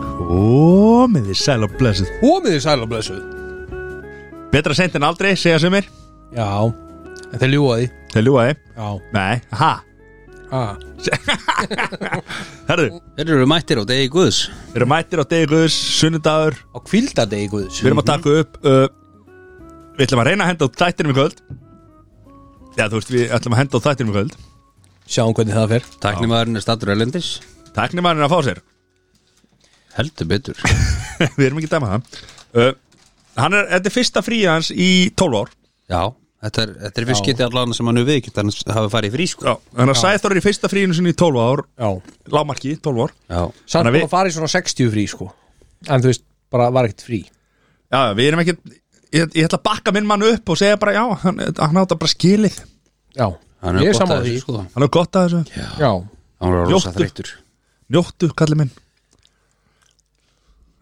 Komiði sæl og blessuð Hómiði sæl og blessuð Betra sent en aldrei, segja sumir Já, en þeir ljúga því Þeir ljúaði Já, Nei, ha ah. Herðu, Þeir eru mættir á degi guðs við erum mættir á degi guðs, sunnudagur á kvildadegi guðs Við erum að taka upp uh, Við ætlum að reyna að henda á þættinum í kvöld Já, þú veist, við ætlum að henda á þættinum í kvöld Sjáum hvernig það fer Tæknimaðurinn er stattur erlendis Tæknimærin er að fá sér Heldur betur Við erum ekki að dæma það uh, Hann er, þetta er fyrsta fríi hans í 12 ár Já, þetta er, þetta er fyrst getið allan sem hann er viðkjönt Hann hafi farið í frí sko Já, þannig að Sæþór er í fyrsta fríinu sinni í 12 ár Já, Lámarki, 12 ár Já, samt Þannig að við... við- að fara í svona 60 frí sko En þú veist, bara var ekkert frí Já, við erum ekki Ég, ég ætla að bakka minn mann upp og segja bara já Hann, hann átt að bara skilið Já, hann ég er er gott saman að því þessu sko Hann er gott að þessu Já, Hann var rosa Ljóttur. þreyttur Njóttu, kalli minn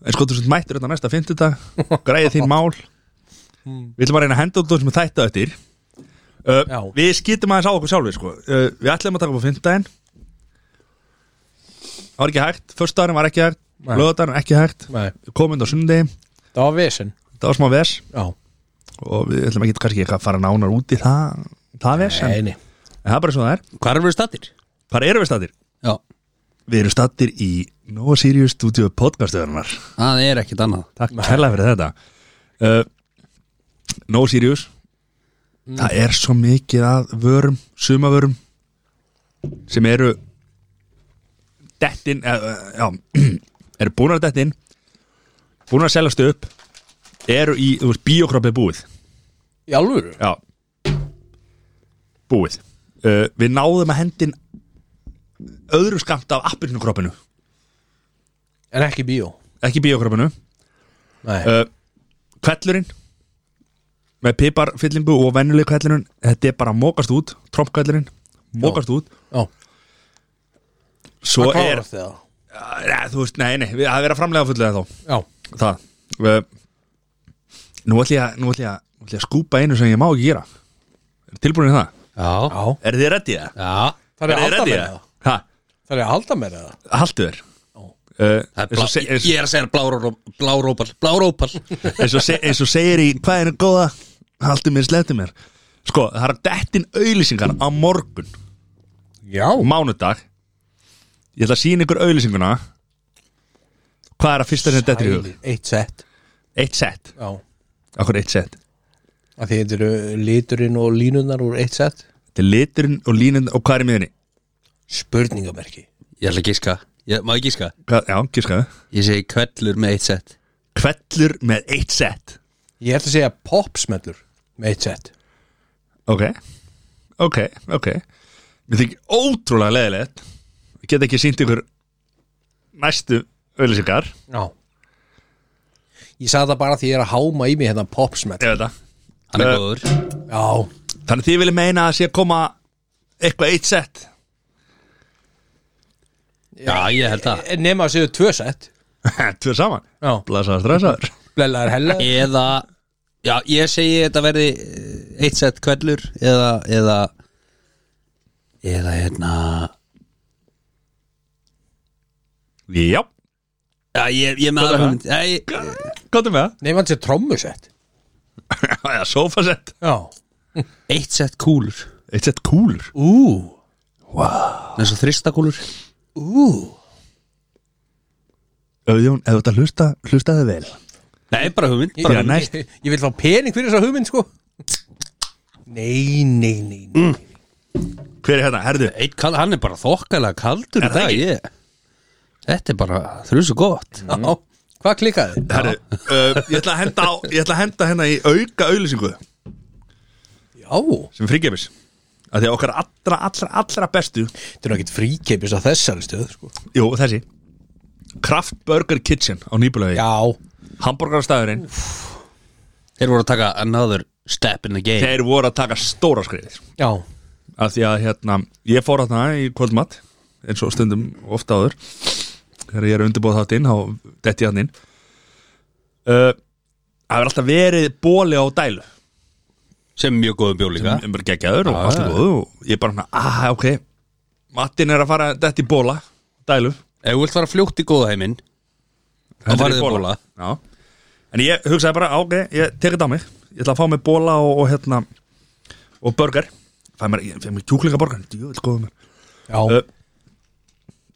En sko, þú sem mættur þetta næsta fymtudag Græði þín mál Við ætlum að reyna að henda út þú sem er þættu eftir Hmm. Já. uh, Við skýtum aðeins á okkur sjálfur sko. uh, Við ætlum að taka upp á fymtudaginn Það var ekki hægt Föstudagurinn var ekki hægt Nei. Lögudagurinn ekki hægt nei, Komund á sunnudegi það var vesen Það var smá vers Já, Og við ætlum ekki kannski ekki að fara nánar út í það Það vers en, eini en það er bara svo það er Hvar eru stattir? Hvað erum við statir? Já, Við erum statir í Nova Sirius Studio podcastöðunar það er ekkit annað Takk hella fyrir þetta uh, Nova Sirius Það er svo mikið að vörum, sumavörum sem eru dettin uh, já, eru búin að dettin búin að seljast upp eru í, þú veist, bíokroppið búið Í alvöru? Já Búið uh, Við náðum að hendin öðru skamt af appilnukroppinu En ekki bíó ekki bíokroppinu Nei, uh, Kvellurinn með piparfyllingu og venjuleg kvellurinn þetta er bara að mókast út, trompkvellurinn mókast út já, svo Hvað er, klárast þið það? neð, þú veist, nei, nei við- það er að vera framlega fullið þá Já, það, uh, nú ætlum ég, að- nú ætlum ég, að- nú ætlum ég að skúpa einu sem ég má ekki gera tilbúinu það, Já, já er þið reddið það? já Það er að halda ready með í það Ha? Það er að halda með það haltu þér Uh, Það er eins og blá, se- ég, ég er að segja bláró- blárópal Blárópal eins og se- eins og segir í hvað er góða haltu mér, slepptu mér sko, það er að dettin auðlýsingar á morgun, Já, mánudag ég ætla að sína ykkur auðlýsinguna hvað er að fyrsta sem dettir í hug Sælir, eitt sett eitt set, Já, okkur eitt set að því þetta eru liturinn og línunar úr eitt sett þetta er liturinn og línin og hvað er í miðunni Spurningamerki Ég ætla að gíska ég, Má ég gíska? hvað, já, gískaðu, Ég segi kvellur með eitt sett kvellur með eitt set Ég ætla að segja popsmellur með eitt sett ok, ok, ok mér þykir ótrúlega leðilegt ég get ekki sínt ykkur næstu auðlýsingar Já Ég sagði það bara því ég er að háma í mig hérna popsmell ég veit það Hann Eh, er góður Já, Þannig að þið viljið meina að það sé að koma eitthvað eitt sett Já, ég held það En nema að segja tvö sett Tvö saman Já, Blasaður, stressaður blella er hella Eða Já, ég segi þetta verði eh, eitt sett kvellur Eða Eða Eða hérna Já, Já, ég, ég með Hvað er aðra það? hugmynd Já, ég- gottum við Nema að segja trommusett það Já, sofasett Já Eitt sett kúlur Eitt sett kúlur Ú, Með svo þristakúlur ú Auðjón, ef þú ert að hlusta, hlustaðu vel Nei, bara hugmynd Ég, bara Já, ég, hugmynd. næst. ég, ég vil fá pening fyrir þessa hugmynd sko Nei, nei, nei, nei. Hver er hérna, herðu Eitt kall, hann er bara þokkalega kaldur Er í það dag ég. Þetta er bara þrjusu gott Já, hvað klikkaði? Herðu, uh, ég ætla að henda á Ég ætla að henda hérna í auka auðlýsingu Já, þetta Sem fríkefis Af því að okkar allra, allra, allra bestu er ekkert fríkeipis á þessari stöð sko. Jú, þessi Kraft Burger Kitchen á Nýbulagi Já, Hamburgarstæðurinn Þeir voru að taka another step in the game Þeir voru að taka stóra skriðir já, af því að hérna, ég fór að það í kvöldmatt eins og stundum ofta áður þegar ég er að undirbúið þátt inn, þá detti ég hann inn uh, Það er alltaf verið bóli á dælu sem mjög góðum bjór líka sem er bara geggjaður og Já, allt er já. góð og ég er bara svona, ah, ok Mattin er að fara detti í bóla, dælu ef þú vilt fara fljótt í góða heiminn Heldur farið í í bola. Já. En ég hugsaði bara, "Ah, ok, ég tekið á mig Ég ætla að fá mig bóla og, og hérna og burger Fæ mér, ég fæ mér kjúklingaborgar, djúvill góðum mér Já, uh,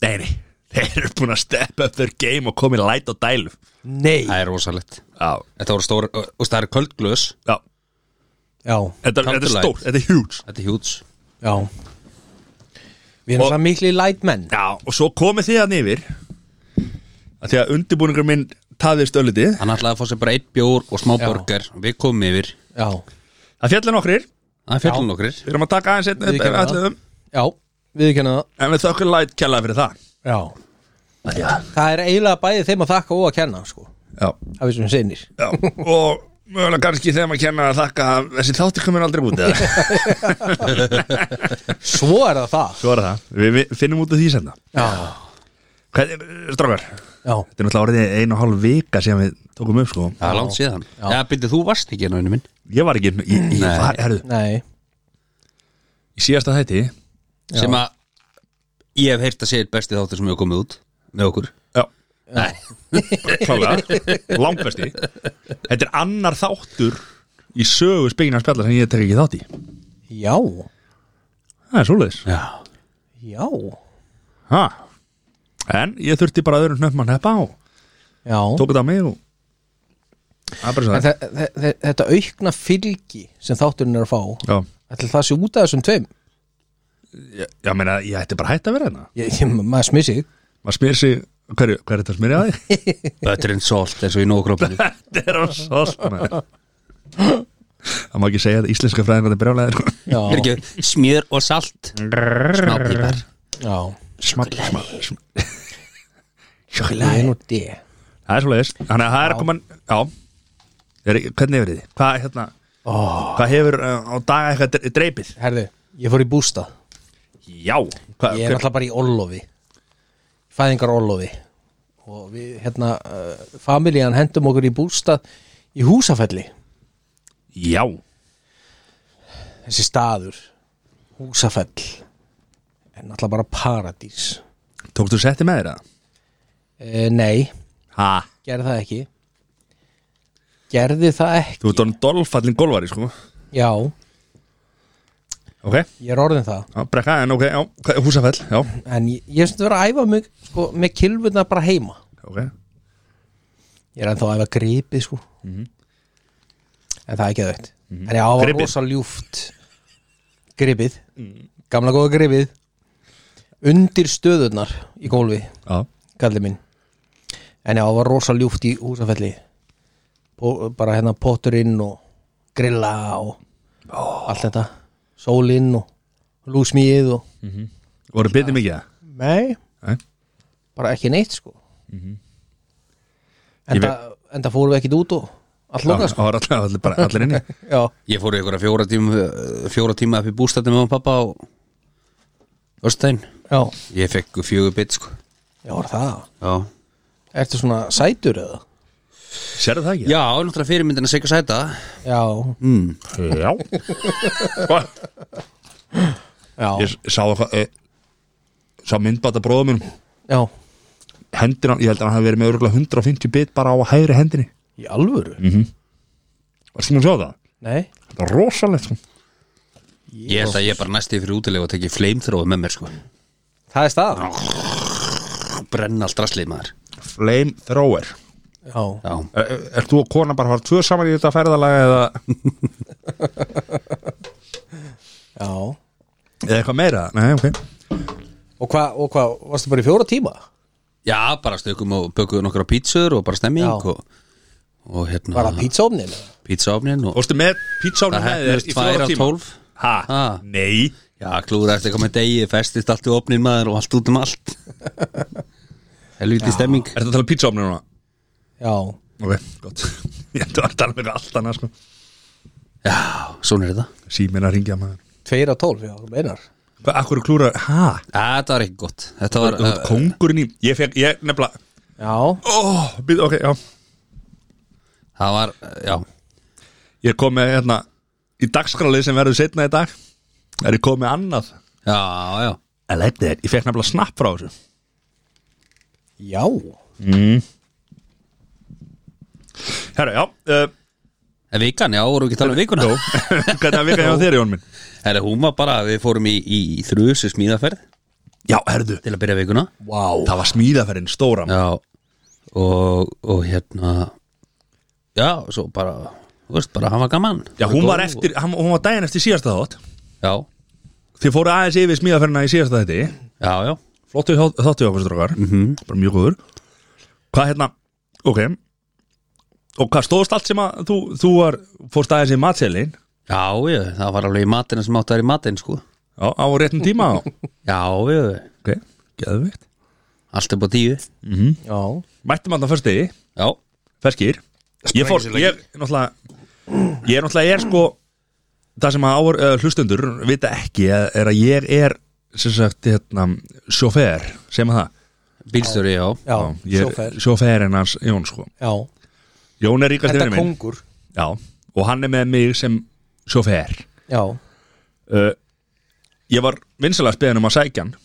Nei, nei, þeir eru búin að steppa upp þeir game og komið light á dælu nei það er rosalegt Já, þetta voru stór og og það er köldglös já Já, Þetta, Come þetta er to stór, light. þetta er huge þetta er hjúts já Við erum Og- það mikli lætmenn Já, og svo komið þið hann yfir að Því að undirbúningur minn taðist ölliti hann ætlaði að fá sér bara eitt bjór og smá borgar við komum yfir Já, Það fjallir nokkrir, það er fjallin okkur við erum um. að taka aðeins einn Við upp en gerum það. ætluðum já, við kenna það En við þökkum light kjallaði fyrir það Já, Já, það er eiginlega bæðið þeim að þakka og að kenna sko. já Það við sem sinnir Já, og mögulega kannski þegar maður kenna að þakka að þessi þátti komur aldrei út eða? Svo er það það Svo er það, við, við finnum út af því senna Já, Hvernig, strákar, þetta já, er náttúrulega orðið einu og hálf vika sem við tókum upp sko það er langt síðan já, byrju þú varst ekki hérna vinnu minn Ég var ekki, ég, ég Nei. var, herðu, nei í síðasta þætti sem að ég hef heyrt að segja besti þáttur sem hefur komið út með okkur Já, Nei, klálega, langbesti Þetta er annar þáttur í sögu spegina spjalla sem ég tek ekki þátt í Já, Það er svoleiðis já, já, ha. En ég þurfti bara öðrum hnöfnum að neppa á já Tók þetta á mig og Það er bara svo En það þe þe þe þetta aukna fylgi sem þátturinn er að fá Já, Ætli það sé út af þessum tveim ég, ég meina, ég ætti bara hætt að vera hérna Ég, ég, maður smið sig maður smyr sig, hver, hver er þetta að smyrja þig? butter and salt eins og í nógrópinu þetta er á salt maður. það má ekki segja að íslenska fræðingar er brjálæðir Já, smjör og salt smá pípar já small, small, small Ég er nú D það er svoleiðis, þannig að það er að koma já, er, hvernig hefur þið? hvað, hérna, Ó, hvað hefur uh, á daga eitthvað dre- dreipið? herðu, ég fór í bústað já, hvað, Ég er hver, náttúrulega bara í Orlofi Fæðingar Orlofi Og við, hérna, uh, familjan hendum okkur í bústað í húsafelli já Þessi staður Húsafell En náttúrulega bara paradís tókstu setti með þér það? e, Nei, ha, gerði það ekki Gerði það ekki þú ert orðin dolfallin golvari sko, Já, ok, ég er orðin það já, brekka en ok, já, hvað- húsafell, já En ég, ég er sem þetta verið að æfa mig sko, með kylfuna bara heima ok, Ég er ennþá að æfa gripið sko En það er ekki þauðt En ég ávar Mhm. Gripið? Mhm. rosa ljúft Gripið Gamla góða gripið Undir stöðunar í gólfi já, Kallið minn En ég ávar rosa ljúft í húsafelli Pó, Bara hérna potturinn og Grilla og Allt þetta Sólinn og lúsmíð og voru bitið mikið það? Nei, Nei. bara ekki neitt sko Mhm. Ég Enda, enda fórum við ekkit út og Allt Já, lokað það sko var allir, allir, bara, allir inni Já, ég fór í einhverja fjóra tíma fjóra tíma upp í bústætti með hann pappa á Östæn já, ég fekk fjögur bit sko já, var það já, Ertu svona sætur eða? Sérðu það ekki? já náttúrulega fyrirmyndin að segja sæta Já, mm. Já já, Ég sá eitthvað eh, Sá myndbata bróðum minn já Hendir hann, ég held að hann hafi verið með örgulega 150 bit bara á hægri hendinni Í alvöru? Var sem hún sjá það? Nei Þetta er rosalegt sko. ég held að ég bara næsti fyrir útilega og tekið fleimþróð með mér sko Það er stað brenna allt rastlið maður Flame thrower Já, já, Er, er þú og kona bara að fara tvö saman í þetta ferðalega eða, já eða eitthvað meira? Nei, ok Og hvað, og hvað, varstu bara í fjóra tíma? já bara stökum og bökum nokkra pítsur og bara stemming Já. og, og hérna Var það pítsaofnin? pítsaofnin og Fórstu með pítsána það hefnist tvær af tólf Ha? Ha? Nei já, klúður eftir komið degi, festist allt í ofnin maður og allt út um allt helviti stemming Er þetta að tala pítsána núna? Já, Ok, gott Ég ætla að tala með allt annað sko já, svona er þetta Síminn að ringja maður tveir af tólf, já, þú meinar Akkur klúra, hæ? þetta var ekki gott Þetta var, Uh, Kongurinn í, ég fekk, ég nefnilega Já, Ó, býð, ok, já eh, það var, já Ég kom með hérna Í dagskrálið sem verður setna í dag Er ég kom með annað Já, já I like that. Ég fekk nefnilega snapp frá þessu já Herra, já uh, En vikan, já, vorum við ekki að tala um vikuna Hvernig að vika hjá þér, Jón minn? Herra, hún var bara, við fórum í, í, í þrjusu smíðaferð Já, herðu til að byrja vikuna Vá Það var smíðaferinn stóra maður. Já og, og hérna Já, svo bara þú veist, bara hann var gaman Já, hún var eftir, hann- hún var daginn eftir síðasta þátt Já, Þið fóru aðeins yfir smíðaferina í síðasta þetta já, já Flottu þáttu okkur strókar Mhm. Bara mjög góður Hvað hérna, ok Og hvað stóðst allt sem að þú, þú var Fórst aðeins í matselin Já, já, það var alveg í matinn sem átti að vera í matinn, sko Já, á réttum tíma á. Já, já, Ok, geðvikt allt upp á tíu Já, Mættum hann á föstudegi, Já, ferskir Ég fór, ég, náttúrulega Ég er náttúrulega, ég er sko Það sem að áur uh, hlustundur vita ekki er, er að ég er sem sagt, hérna, sjófer sem það, bílstjóri, já já, ég sjófer er sjóferinn hans Jón sko, Já, Jón er ríkast þetta yfir minn kongur Já, og hann er með mig sem sjófer Já, uh, Ég var vinsalega spiðin um að sækja hann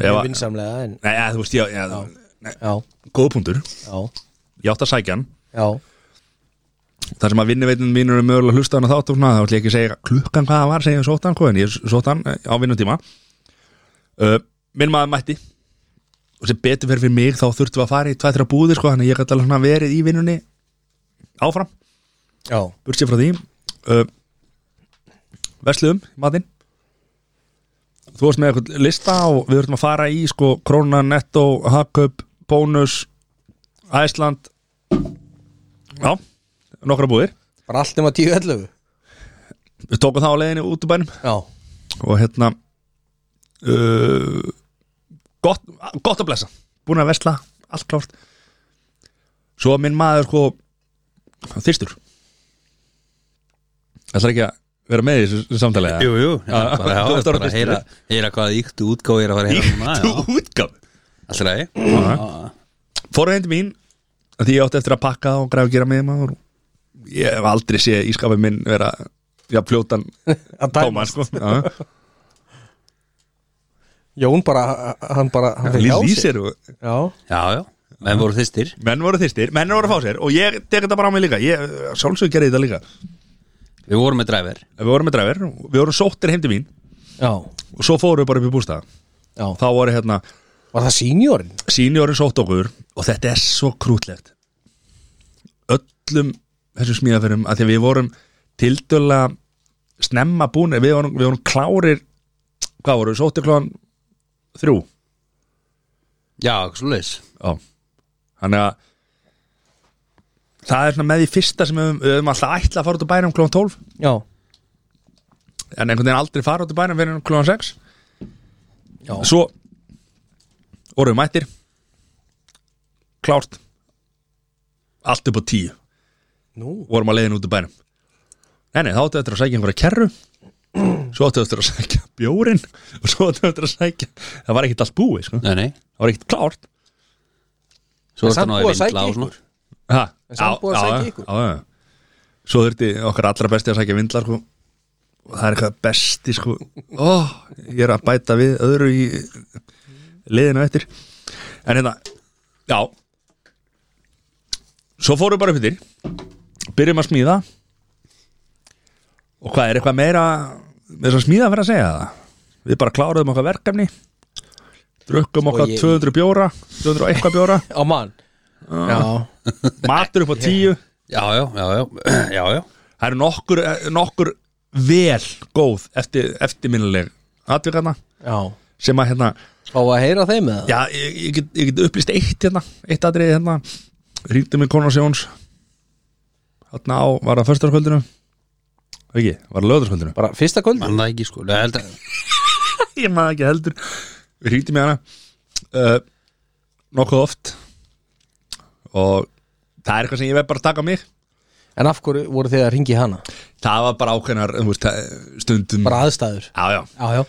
Ef mjög að- vinsamlega en Nei, ja, þú veist, ég, ég, Já, góðpuntur já, Ég átti að sækja hann já þar sem að vinnuveitinu mínur er mögulega að hlusta hann að þátt og svona, þá ætlum ég ekki að segja klukkan hvað það var segja sóttan hvað, sko, en ég sóttan á vinnutíma uh, minn maður mætti og sem betur fyrir fyrir mig þá þurftum við að fara í tvæ-þra búðir sko, þannig að ég gæti alveg svona verið í vinnunni áfram, Já, burtsið frá því uh, versluðum matinn þú varst með eitthvað lista og við þurftum að fara í sko, krónan, netto, hagkaup bónus, æsland já nokkra búðir bara allt um að tíu ellefu við tókum það á leiðinni út úr bænum Já, og hérna uh, gott, gott að blessa búin að vesla, allt klárt svo að minn maður sko þyrstur það er ekki að vera með í þessu samtalið Jú, jú, já, Já, þú bara, já, ert orðinn bara að heyra, heyra hvað íktu útgáð er að fara að heyra núna, já. útgaf Allt í lagi. fóru heim til mín að því ég átti eftir að pakka og græfa að gera með maður ég hef aldrei séð ískapið minn vera já, fljótan að tóman dæmast sko. Já. Jón bara, hann bara, hann Lýs- fékk á sig lýsir og Já, Já, já, menn voru þystir menn voru þýstir, menn voru að fá sér og ég tek þetta bara á mig líka, ég sjálfsög gerði þetta líka Við vorum með dræver við vorum með dræfir, við vorum sóttir heim til mín já, og svo fórum við bara upp í bústaða já þá voru hérna, Var það seniorinn? sínjórin sótt okkur og þetta er svo krútlegt öllum þessum smíðaferðum, að því að við vorum tildöla snemma búin við vorum, við vorum klárir hvað voru, við, sóttir klóðan þrjú, Já, svo leis já þannig að það er svona með því fyrsta sem við höfum- við höfum alltaf ætla að fara út á bænum klóðan 12 Já, en einhvern veginn aldrei fara út í bænum fyrir klúan 6 já, svo vorum við mættir klárt allt upp á 10 nú vorum að leiðin út í bænum nei, nei, þá áttu eftir að sækja einhverja kerru svo áttu eftir að sækja bjórin og svo áttu eftir að sækja það var ekkert allt búið, sko. Nei, nei, það var ekkert klárt svo En er samt þetta náði búið að vindla sækja og svona ykkur. ha, En samt búið að sækja ykkur. já, já, já. svo þurfti okkar allra besti að sækja vindlar sko. og það er eitthvað besti sko. Ó, ég er að bæta við öðru í liðinu eftir en hérna, já svo fórum við bara upp yfir byrjum að smíða og hvað er eitthvað meira með þess að smíða að vera að segja það við bara kláruðum okkar verkefni drukkum okkar Sko, ég- 200 bjóra 200 og eitthvað bjóra Á mann Já, matur upp á 10 Já, já, já, já, já, já Það eru nokkur, eh, nokkur vel góð eftir, eftirminnileg atvikana já sem að hérna, Fá að heyra þeim eða? já, ég, ég, get, ég get upplýst eitt hérna, eitt atriði hérna ringdu mig Konars Jóns hérna á, var það föstaskvöldinu ekki, var það löðarskvöldinu Bara fyrsta kvöldi? Mann það ekki sko Nei, held að- ég maður ekki heldur við ringdu mig hana uh, nokkuð oft og það er eitthvað sem ég verð bara að taka á mig En af hverju voru þið að ringi hana? það var bara ákveðnar þú veist, það- stundum bara aðstæður já, já. já, já,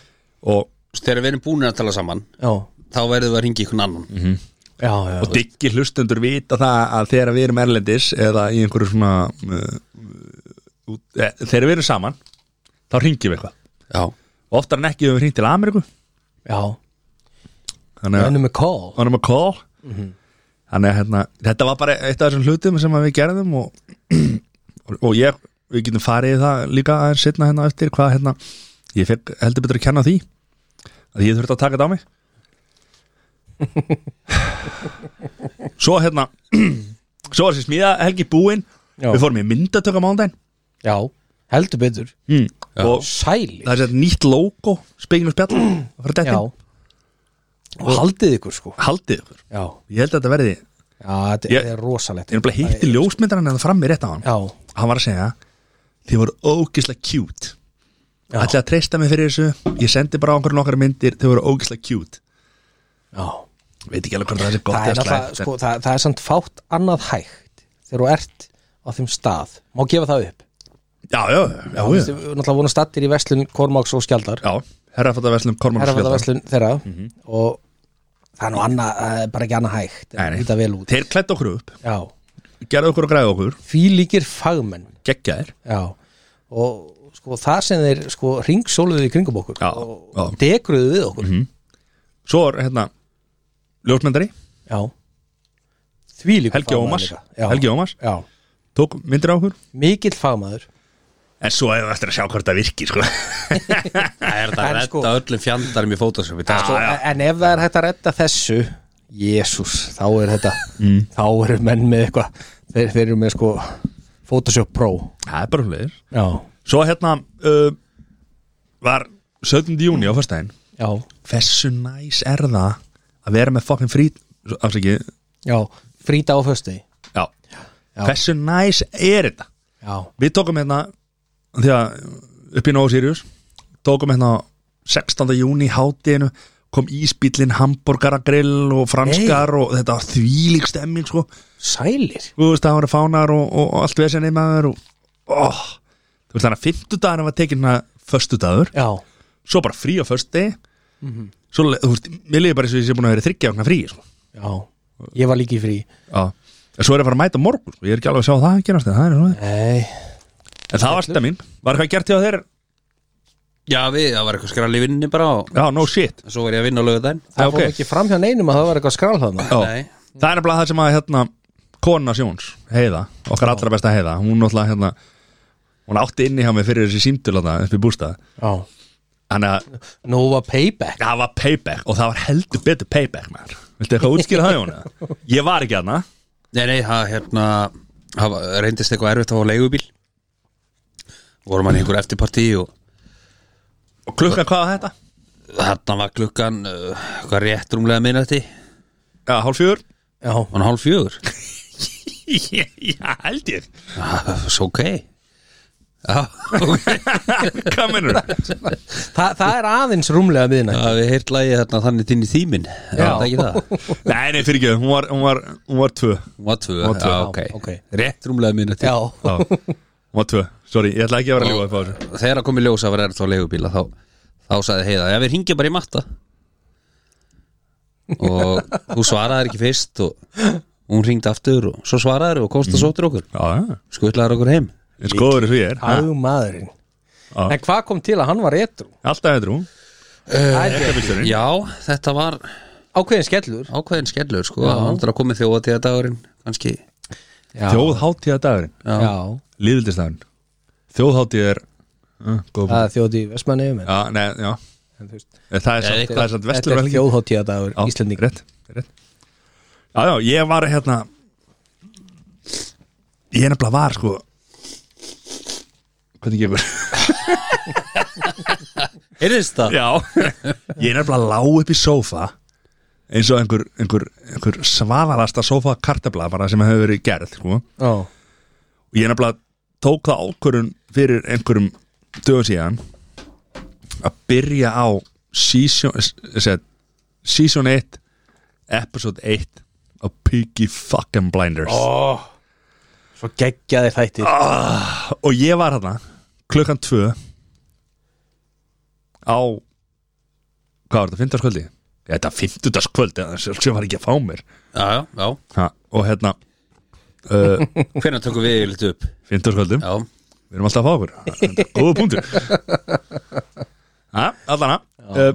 og, Þegar við erum búin að tala saman já, Þá verðum við að ringa ykkur annan já, já, og diggi hlustundur vita það að þegar við erum erlendis eða í einhverju svona uh, út, e, þegar við erum saman þá ringjum við eitthvað Já oftar en ekki höfum við ringt til Ameríku já. þannig að Önum með call honum að call Mhm. þannig að hérna, þetta var bara eitt af þessum hlutum sem að við gerðum og, og ég, við getum farið í það líka aðeins setna hérna á eftir hvað hérna, ég fekk heldur betur að kenna á því að ég þurfti að taka þetta á mig svo hérna svo var þessi smíða helgi búinn Já. við fórum í myndatöku á mándaginn Já, heldur betur mm. og Sæli, það er sér nýtt logo spegin og spjall að fara já þetta inn. Og haldið ykkur sko haldið ykkur, Já, ég held að þetta verði ég já þetta Ég- er rosalegt er bara hitti ljósmyndarinn en það fram í rétt á hann Já, hann var að segja þið voru ógislega cute Já. ætlaði að treysta mig fyrir þessu ég sendi bara á einhverjum nokkar myndir þið voru ógislega cute já veit ekki alveg hvort það er gott það er, eða alltaf, slæmt sko, það, það er samt fátt annað hægt þegar þú ert á þeim stað má gefa það upp já, já, já, Þú veist, já, við erum náttúrulega vorum stattir í verslun Kormáks og Skjaldar já. herrafattaverslum Kormáksfjöldar herrafæðaverslun þeirra Mhm. og það er nú annað, það er bara ekki annað hægt Nei, nei. þetta vel út þeir klætt okkur upp já, gerðu okkur og græðu okkur fýlíkir fagmenn geggjaðir já, og sko það sem þeir sko ringsóluðu í kringum okkur Já, og já. Mhm. degruðu við okkur svo er hérna ljósmyndari já þvílíkur Helgi fagmaður Ómars líka. já, Helgi Ómars já, tók myndir á okkur mikill fagmaður en svo hefur eftir að sjá hvort það virki sko. Það er þetta að En redda sko- öllum fjandarum í Photoshop í dag sko, sko. en ef það er hægt að redda þessu Jésús, þá er þetta Mm. þá eru menn með eitthvað þeir, þeir eru með sko Photoshop Pro það er bara hlutir já, svo hérna uh, var 17. júni á fyrstæðin já, hversu næs er það að vera með fokkin frít afsaki, já frýta á föstu já, já. hversu næs er þetta já, við tókum hérna því að upp í Nóa Sirius tókum hérna 16. júni hátíðinu kom íspillin hamburgaragrill og franskar og þetta var þvílík stemming sko, sælir þú veist það voru fánar og, og, og allt vesenni maður og oh, þú veist þannig að fimmtudagurinn var tekin að föstudagur, já, svo bara frí á föstudegi svo, le- þú veist, mér liði bara eins og ég sé búin að vera þryggja okna frí, sko já, ég var líki í frí Já, en svo er ég að fara að mæta á morgun sko. Ég er ekki alveg að sjá það að gerast en það er svona. nei, En það var stemming, var eitthvað gert hjá þér Já, við, það var eitthvað skrall í vinninni bara og Já, no shit Svo var ég að vinna á lögudaginn Já, það ok. fór ekki fram hjá neinum að það var eitthvað skrál þarna Já. Nei. Það er nefnilega það sem að hérna Kona Sjóns, Heiða, okkar allra besta Heiða Hún náttúrulega hérna Hún átti inni hjá mig fyrir þessi símtul þarna upp í bústað já, Þannig að Nova Payback það var payback og það var heldur betur payback maður. Viltu eitthvað útskýra það Jóna? Ég var ekki hana Nei, nei, það hérna það var- reyndist eitthvað erfitt að fá leigubíl vorum hann í einhver eftirpartí og Og klukka hvað var þetta? þarna var klukkan uh, hvað rétt rúmlega minnati Já, hálf fjör já, hann hálf fjögur Já, held ég Ah, Svo ok Já, ok Hvað mennur? Þa, það er aðeins rúmlega miðna Það við heyrt lagi þarna þannig tinn í þýmin Já Já. Það ekki það Nei, nei, fyrir ekki, hún var, hún var, hún var tvö Hún var tvö Hún var tvö. Já, Já, ok ok. Rétt rúmlega minnati já, Já, hún var tvö, sorry, ég ætla ekki að vera að ljúga upp á þessu Þegar að komi ljós að vera erfitt á leigubíla þá, þá sagði heiða Já, við ringjum bara í matta Og þú svaraðir ekki fyrst og hún ringdi aftur og svo svaraðir og komst Mm. að sóttir okkur Já, já, Skutlaðir okkur heim eins góður eins og ég er ha? hagmaðurinn Já. en hvað kom til að hann var etru? Alltaf eitthvað Ekkabilsturinn Já, þetta var ákveðin skellur ákveðin skellur sko Það var aldrei að komið þjóða til að dagurinn kannski já, Þjóðháttíða dagurinn já. Líðildistagurinn Þjóðháttíð er uh, Góð það er þjóðhátíð í Vestmanni Já, nei, já en þú veist, En Það er Nei, samt, eitthvað. það er samt þetta vestlur er þjóðháttíðadagur Íslanding Rétt, rétt Já, já, ég var hérna Ég nefnilega var, sko Hvernig gefur? Heyrðist það? Já, ég nefnilega lá upp í sófa eins og einhver, einhver, einhver svaðalasta sófa kartabla bara sem hefur verið gerð sko. já, og ég nefnilega tók það ákvörun fyrir einhverjum dögum síðan að byrja á season, s- s- season 1 episode 1 á Peaky fucking Blinders Ah. svo geggjaði þættir og ég var þarna klukkan tvö á hvað var þetta, fimmtudagskvöldi? Ja, Þetta fimmtudagskvöldi, sem var ekki að fá mér já, já, já ha, og hérna uh, Hvernig tökum við litt upp? fimmtudagskvöldum, Já, við erum alltaf að fá okkur Þetta er góða punktur ha, allana uh,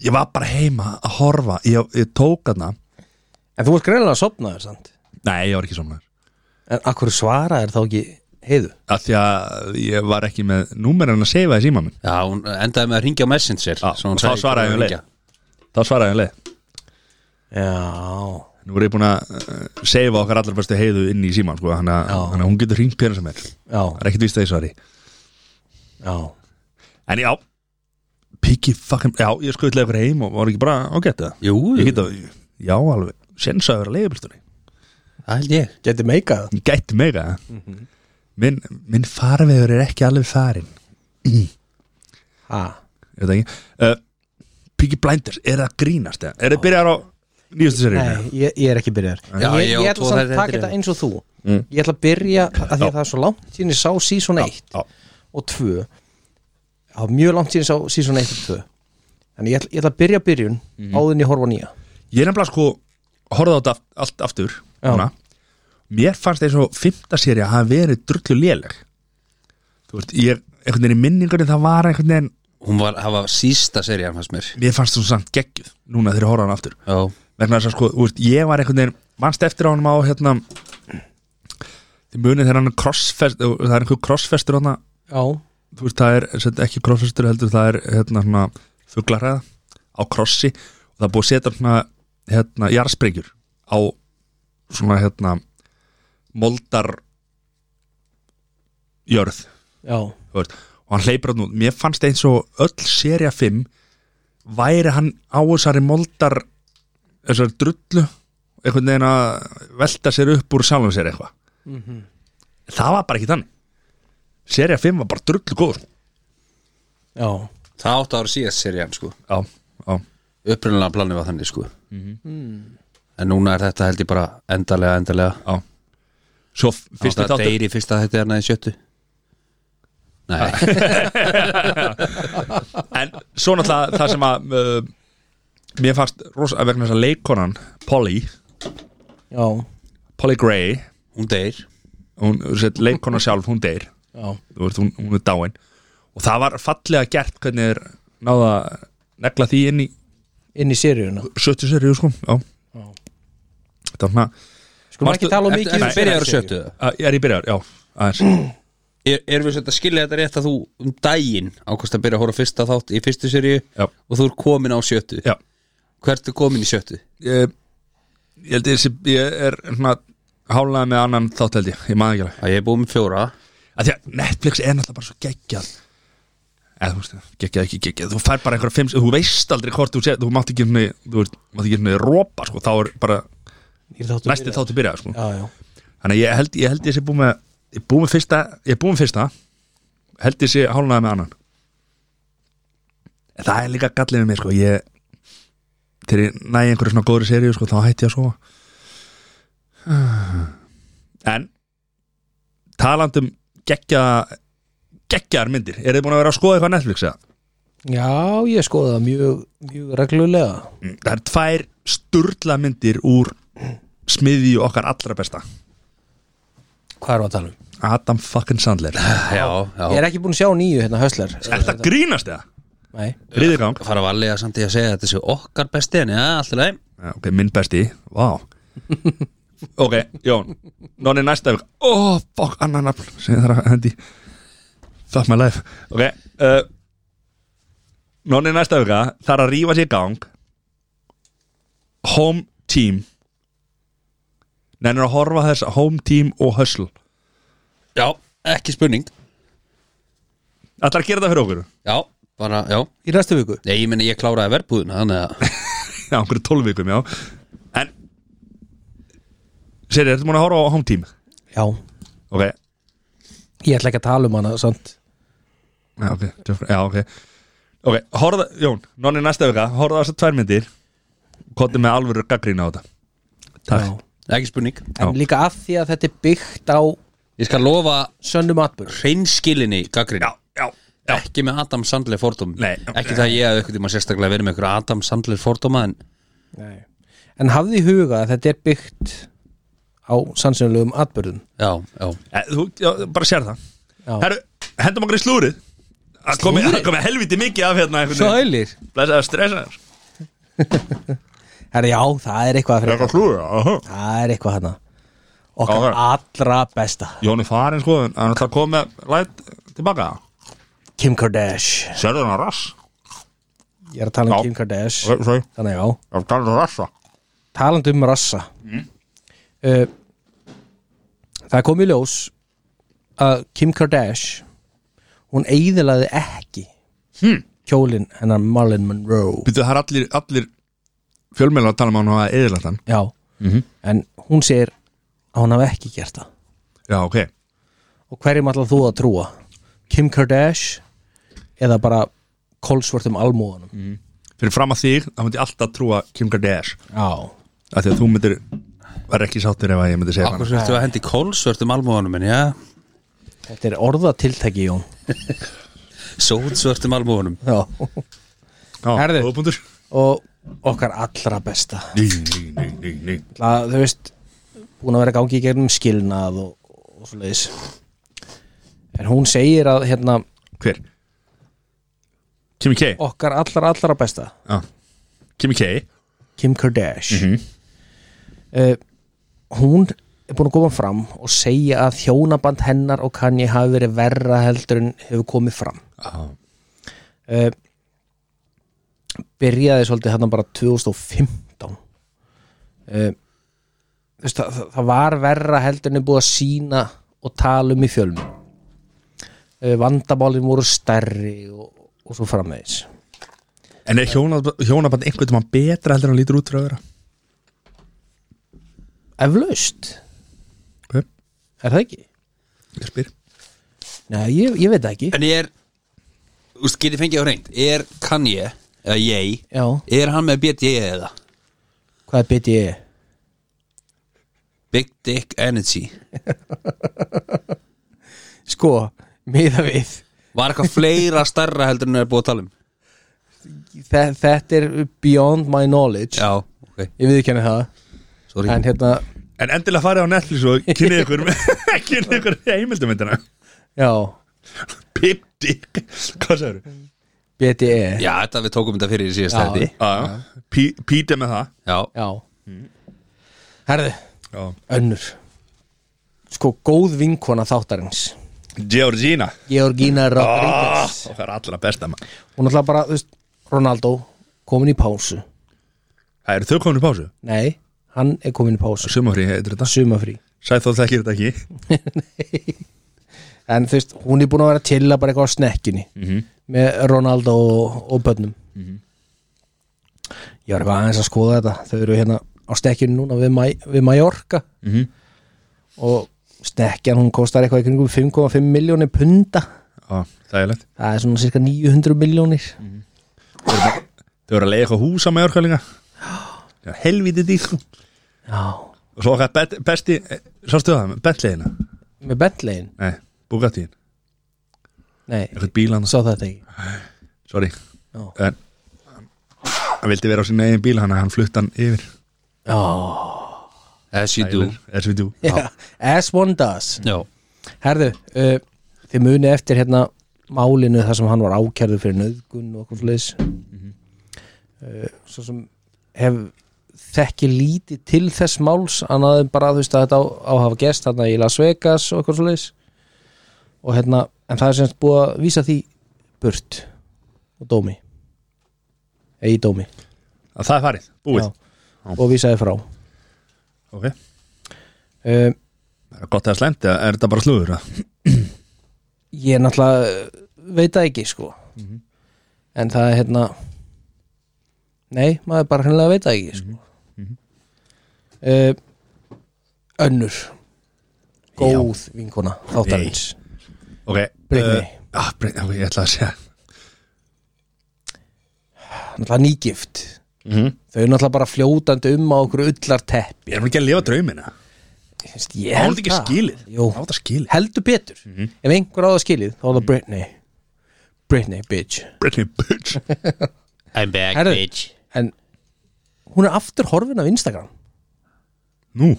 ég var bara heima að horfa ég, ég tók aðna, En þú varst greinlega að sopna þér, sant? nei, ég var ekki somnaður En akkur svara er þá ekki heiðu? af því að ég var ekki með númerin að seifa í síma minn já hún endaði með að ringja á Messenger Já, svo og hún sagði þá svaraði hvernig hún hringja. þá svaraði hann leið Já Nú er ég búin að uh, seifa okkar allra bestu heiðu inn í síman sko, hann að Já. hann að hún getur hringt hvernig sem er Það Já, er ekkert víst að ég svari já En já, piggy fucking Já, ég skuldlega ykkur heim og var ekki bara á geta Jú, Ég geta, já alveg Sensa að vera leiðubilstunni það held ég Geti meikað Ég gæti mega Mhm. Minn, minn farvegur er ekki alveg farin Ha, Ég veit það ekki uh, Piggy Blinders, er það að grínast? eða? Er það byrjar á nýjastu seríu? nei, ég, ég er ekki byrjar Já, Ég, ég á ég ætla tvo samt þær að taka þættir þetta í. eins og þú Ég ætla að byrja að því að það er svo langt síðan ég sá season 1 Já, og 2 Það var mjög langt síðan ég sá season 1 og 2 Þannig ég ætla, ég ætla að byrja byrjun áður en ég horfa á nýja Ég er nefnilega sko horfði á þetta aft- allt aftur Já. núna. Mér fannst eins og fymta séri að hafa verið drullu léleg Þú veist, ég einhvern veginn í minningunni það var einhvern veginn Hún var, það var sísta serið fannst mér mér fannst þú samt geggjuð núna þegar ég horfði á hann aftur Já, vegna þess að sko, þú veist, ég var einhvern veginn mannst eftir á hann á hérna þið munið þegar hann er crossfest og það er einhver crossfestur hann Já, þú veist, það er sem sagt ekki crossfestur heldur það er hérna svona fuglaræða á krossi og það er búið að setja svona hérna jarðsprengjur á svona hérna moldar jörð já, þú veist, og hann hleypur hann út mér fannst eins og öll seria 5 væri hann á þessari moldar þessari drullu einhvern veginn að velta sér upp úr sjálfum sér eitthvað það var bara ekki þannig seria 5 var bara drullu góð sko. já það átt ára síðast serið sko já, já, Upprunnilega planið var þannig sko Mhm. En núna er þetta held ég bara endalega, endalega já svo Fyrsti fyrsti þáttur þáttur Deyri fyrsta þetta er næði sjöttu Ah. Nei, en svo náttúrulega það sem að uh, mér fannst rosa vegna þess að leikonan Polly, Já, Polly Gray hún deyr hún, set, leikona sjálf, hún deyr já, þú veist, hún, hún er dáin og það var fallega gert hvernig þeir náða að negla því inn í inn í seríuna 70 serið, sko, já Já. þetta var svona, Skulum Varstu- ekki tala um Ertu mikið um ertu byrjaður á seríu. sjöttu? eða? að, er ég byrjar, já aðeins, Er, erum við svolítið að skilja þetta rétt að þú um daginn ákvæmst að byrja að horfa á fyrsta þátt í fyrstu seríu Já. og þú er komin á sjöttu já Hvert er komin í sjöttu? ég, ég held ég, sé- ég er svona hálaði með annan þátt held ég, ég maður ekki alveg Að ég er búið með fjóra að því að Netflix er náttúrulega bara svo geggjað eða þú veist, geggjað ekki geggjað þú fær bara einhverja fimm, þú veist aldrei hvort þú sér, þú mátt ekki henni, þú veist, mátt ekki henni rópa, sko, þá er bara Ég er þáttur næsti byrjaður. þáttu byrjað, sko Já, já, þannig að ég held, ég held ég sé búið með ég er búið með fyrsta, ég er búið með fyrsta held ég sé hálnaði með annan en það er líka gallið með mér, sko, ég til ég næ einhverju svona góðri seríu, sko, þá hætti ég að sofa en talandum geggja geggjar myndir, er þið búin að vera að skoða eitthvað á Netflix eða? Já, ég skoði það mjög, mjög reglulega Mm, það er tvær sturla myndir úr smiðju okkar allra besta Hvað er að tala um? Adam fucking Sandler Já, já Ég er ekki búin að sjá nýju hérna höslar er það grínast eða? Nei, Riðigang fara varlega samt í að segja að þetta séu okkar besti en já, alltaf leið Já, Ah, ok, minn besti, vá ok, Jón Nóni næsta vik, ó, fokk, annan nafn sem ég þarf að hendi fuck my life, ok uh, Nóni næsta vika þarf að rífa sér í gang home team nennir að horfa á þess home team og hustle Já, ekki spurning ætlar að gera það fyrir okkur Já, bara, já í næstu viku Nei, ég meni ég kláraði verðbúðina þannig að já, okkur tólvikum, já en Seri, ertu múin að horfa á home team Já, ok, ég ætla ekki að tala um hana samt. Já, ok, Jeffrey, já, ok Ok, horfða, Jón, nonni næsta vika Horfða þessar tvær myndir Kottum með alvöru gaggrína á þetta Takk Já. ekki spurning En Já. líka að því að þetta er byggt á Ég skal lofa Sönnum atbyrð hreinskilinni gaggrin já, ekki með Adam Sandler fordóm Nei. ekki það ég að eitthvað tíma sérstaklega verið með eitthvað Adam Sandler fordóma en Nei. En hafði í huga að þetta er byggt á sannsynlegum atbyrðum já, já, Eh, Þú já, bara sér það Já. Herru, hendum okkur í slúrið Það komi, Slúðrið? það komi helviti mikið af hérna Sælir Blessaði að stressa þér Herra já, það er eitthvað að fyrir slúrið, aha Það er eitthvað hana Okkar Já, allra besta Jón er farin sko, en hann ætla að koma með læt tilbaka Kim Kardashian Sérðu hann að rass? Ég er að tala um Já. Kim Kardashian Sorry, Þannig já það talar um rassa talandi um rassa uh, það kom í ljós að Kim Kardashian hún eigðilaði ekki Hmm. kjólin hennar Marlon Monroe Býttu, það er allir, allir fjölmjölar að tala um hann og að eðilat hann já, en hún segir að hún hafi ekki gert það Já, ok og hverjum allar þú að trúa Kim Kardashian eða bara kolsvörtum almúðanum Fyrir fram að þig, það myndi ég alltaf trúa Kim Kardashian já, af Því að þú myndir, var ekki sáttur ef að ég myndi segja akkur svertu að hendi kólsvörtum almúðanum minn, já, þetta er orðatiltæki Jón sótsvörtum almúðanum já. hann Herðu. Góðbundur og okkar allra besta Ný, ný, ný, ný, ný að, þú veist, búin að vera gangi í gegnum skilnað og, og svo leiðis en hún segir að hérna, Hver? Kimi K? okkar allra allra besta Já Kimi K? Kim Kardashian uh, hún er búin að koma fram og segja að hjónaband hennar og Kanye hafi verið verra heldur en hefur komið fram Já uh, byrjaði svolítið hérna bara 2015 uh, þú veist, það, það var verra heldur en er búið að sína og tala um í fjölum uh, vandamálin voru stærri og, og svo framvegis En er hjónaband, hjónaband einhvern veginn betra heldur en hann lítur út frá þeirra? eflaust, Hver? er það ekki? Ég spyr Nei, ég, ég veit það ekki en ég er, úst, getið fengið á reynd er kann ég, eða ég Já, er hann með BD eða hvað er E? BDE? Big Dick Energy Sko, miða við var eitthvað fleira starra heldur en er búið að tala um Þe, Þetta er beyond my knowledge já, ok, Ég við ekki henni það sorry En hérna, En endilega farið á Netflix og kynnið ykkur kynnið ykkur heimildumindina já, Pip Dick Hvað sagður? BDE já, þetta við tókum þetta fyrir í síðast Já. hætti Ah, Píti með það já, Já Mm. Herðu, Já. önnur Sko, góð vinkona þáttarins Georgina Ah. Georgina Rodriguez Það er allra besta maður Hún ætla bara, þú veist, Ronaldo komin í pásu Það eru þau komin í pásu Nei, hann er komin í pásu Sumafrí heitir þetta Sumafrí Sæð þó þekkir þetta ekki En þú veist, hún er búin að vera til að bara eitthvað á snekkinni Með Ronaldo og, og bönnum Ég var eitthvað aðeins að skoða þetta Þau eru hérna á snekkinu núna við, Maj, við Mallorca Mhm. Og snekkjan hún kostar eitthvað í kringum 5,5 miljónir punda Já, það er lett Það er svona cirka 900 miljónir Þau eru að leiða eitthvað húsa með örkvælinga Helviti dýr Og Já sko. svo okkar bet, besti Sástu það, betlegina Með Bentley-in? Nei, Bugattín Nei, Eitthvað bílan sá þetta ekki Sorry Já. En Hann vildi vera á sín eigin bíl Þannig að hann flutt hann yfir Já as you do As we do Já, As one does já, Herðu, uh, þið muni eftir hérna málinu þar sem hann var ákjærður fyrir nöðgun og okkur sliðis uh, Svo sem hef þekki lítið til þess máls annað en bara þú veist að þetta á, á að hafa gest þarna í Las Vegas og okkur sliðis og hérna, en það er semst búið að vísa því burt og dómi eða í dómi að Það er farið Búið Já. og vísaði frá Ok uh, Það er gott eða slæmt eða er þetta bara slúður eða? ég náttúrulega eh, veit það ekki sko Mhm. en það er hérna nei, maður bara hennilega veit það ekki sko. mm Mhm. önnur góð vinkona þáttarins Ok Britney. uh, ah, Britney, ok, Ég ætla að segja náttúrulega nýgift mm -hmm. þau eru náttúrulega bara fljótandi um á okkur ullar tepp Ég er hún ekki að lifa draumina Veist, ég Á held þetta ekki skilið? Mhm. Jú, Á þetta skilið? heldur betur Ef einhver á það skilið, þá er það Britney Britney, bitch Britney bitch I'm back Herðu. bitch En hún er aftur horfin af Instagram Nú,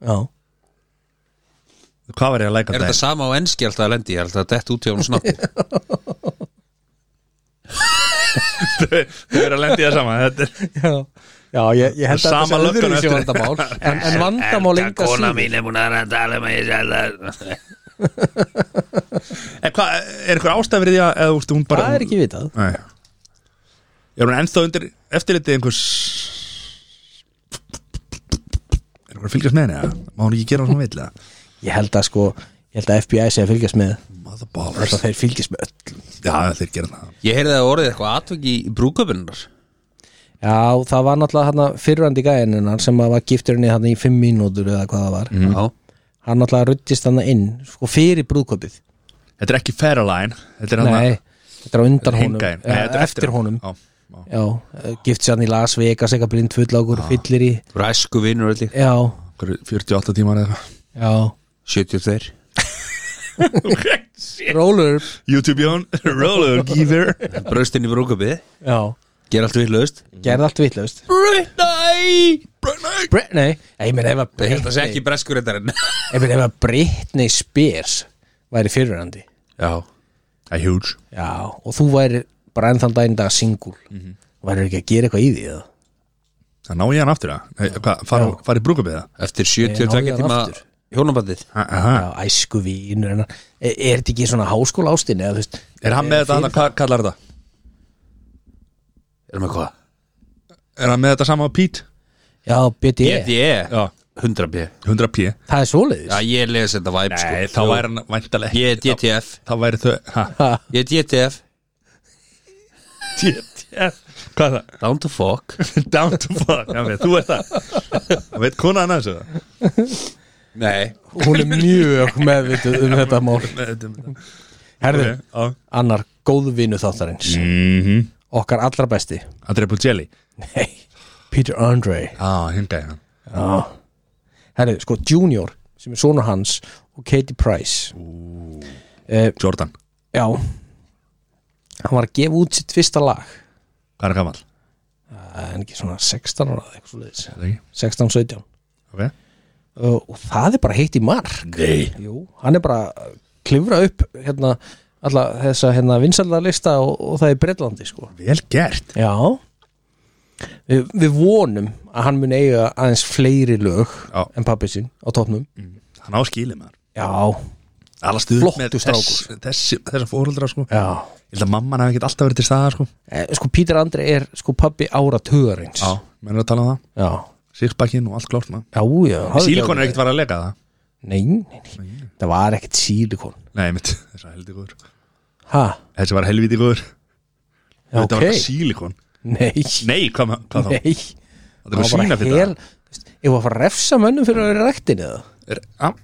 Já, hvað var ég að læka Er þetta þetta? sama á enski alltaf að lendi? Ég held að þetta út hjá hún snart Þau eru að lendi það sama Þetta er já, já ég, ég held að Sama þetta sé löggan öðruvísi eftir. vandamál En, en vandamál enga síður er búin að tala um að ég sæla En hvað, er eitthvað ástæð fyrir því að eða, úst, hún bara Það er ekki vitað Nei Er hún ennþá undir eftirliti einhvers Er hún að fylgjast með henni? eða? Má hún ekki gera hún svona vill eða? Ég held að sko, ég held að FBI sé að fylgjast með Motherballs Þetta þeir fylgjast með öll Já, þeir gera það Ég heyrði að orðið eitthvað atvik í brúköpunnar Já, það var náttúrulega hann fyrrandi gæðininnar sem að var gifturinn í hann í fimm mínútur eða hvað það var Já Hann náttúrulega ruttist hann inn sko fyrir brúðköpið Þetta er ekki Fairline Þetta er hann Nei, þetta er á undan honum hingæin Já, Eftir, honum Já, já. Já, gift sér hann í Las Vegas eitthvað blind full á okkur fyllir í Þú eru æsku vinur öll líka. Já, Einhverju 48 tímar eða eitthvað. já 72 Roller YouTube Jón, Roller Geever Braust inn í brúköpið Já, Ger allt villaust gerði allt vitlaust Brunei Britney, Nei, ég meina ef að Þetta sé Britney ekki breskur þetta en Ég meina ef að Britney Spears væri fyrrandi Já A huge Já, og þú væri bara ennþann daginn dag singul mm -hmm. væri ekki að gera eitthvað í því eða? Það ná ég hann aftur það Nei, hvað, fara, fara í brúkabíða Eftir Ég 72 náði tíma hann aftur. hjónabandið Já, æsku vínur hennar Er, er þetta ekki svona háskóla ástin eða þú veist Er hann með þetta, hann, hvað kallar þetta? Erum við hvað? Er hann með þetta sama á Pete? Já, BDE, E? GDE 100B 100p það er svoleiðis E. Já ég les þetta væp sko E Nei, þá væri hann væntalega Ég er DTF Þá væri þau ha, Ég er DTF Hvað er það? Down to fuck Down to fuck Já, veit, Þú ert það Það veit konan hans það Nei Hún er mjög meðvituð um þetta mál Herðu, annar góðvinu þáttarins Mm. Mhm. Okkar allra besti Andrei Pugelli Nei, Peter Andre Já, hingaði hann Já. Herðu, sko, Junior sem er sonur hans og Katie Price uh, Jordan, Já Hann var að gefa út sitt fyrsta lag hvað er gammal? Það er ekki svona 16 ára eða eitthvað svoleiðis Er það ekki? 16-17 Ok uh, og það er bara heitt í mark Nei Jú, hann er bara að klifra upp hérna, alla þessa hérna vinsældarlista og, og það er Breitlandi sko Vel gert Já við, við vonum að hann mun eiga aðeins fleiri lög Já. en pappi sinn á topnum Hann áskilið maður Mm. Já, Alla stuð Flottur með strákur. þess, þessi, þessa fóruldra sko Ég já held að mamman hafi ekkert alltaf verið til staða sko Eh, Sko Pítur Andri er sko pappi ára tugarins Menn er að tala um það já, Sixpackin og allt klárt maður já, já hafðu Sílikon ekki er ekkert var að leika það áhyggjur. Nei, nei, nei, það var ekkert sílikon Nei, mitt, þessi var helviti góður Ha, Þessi var helviti góður já, Þetta ok var ekki sílikon Nei, Nei, hvað, ma- hvað þá? nei Þetta var sína fyrir hel Ég var að fara að refsa mönnum fyrir að vera rektin eða það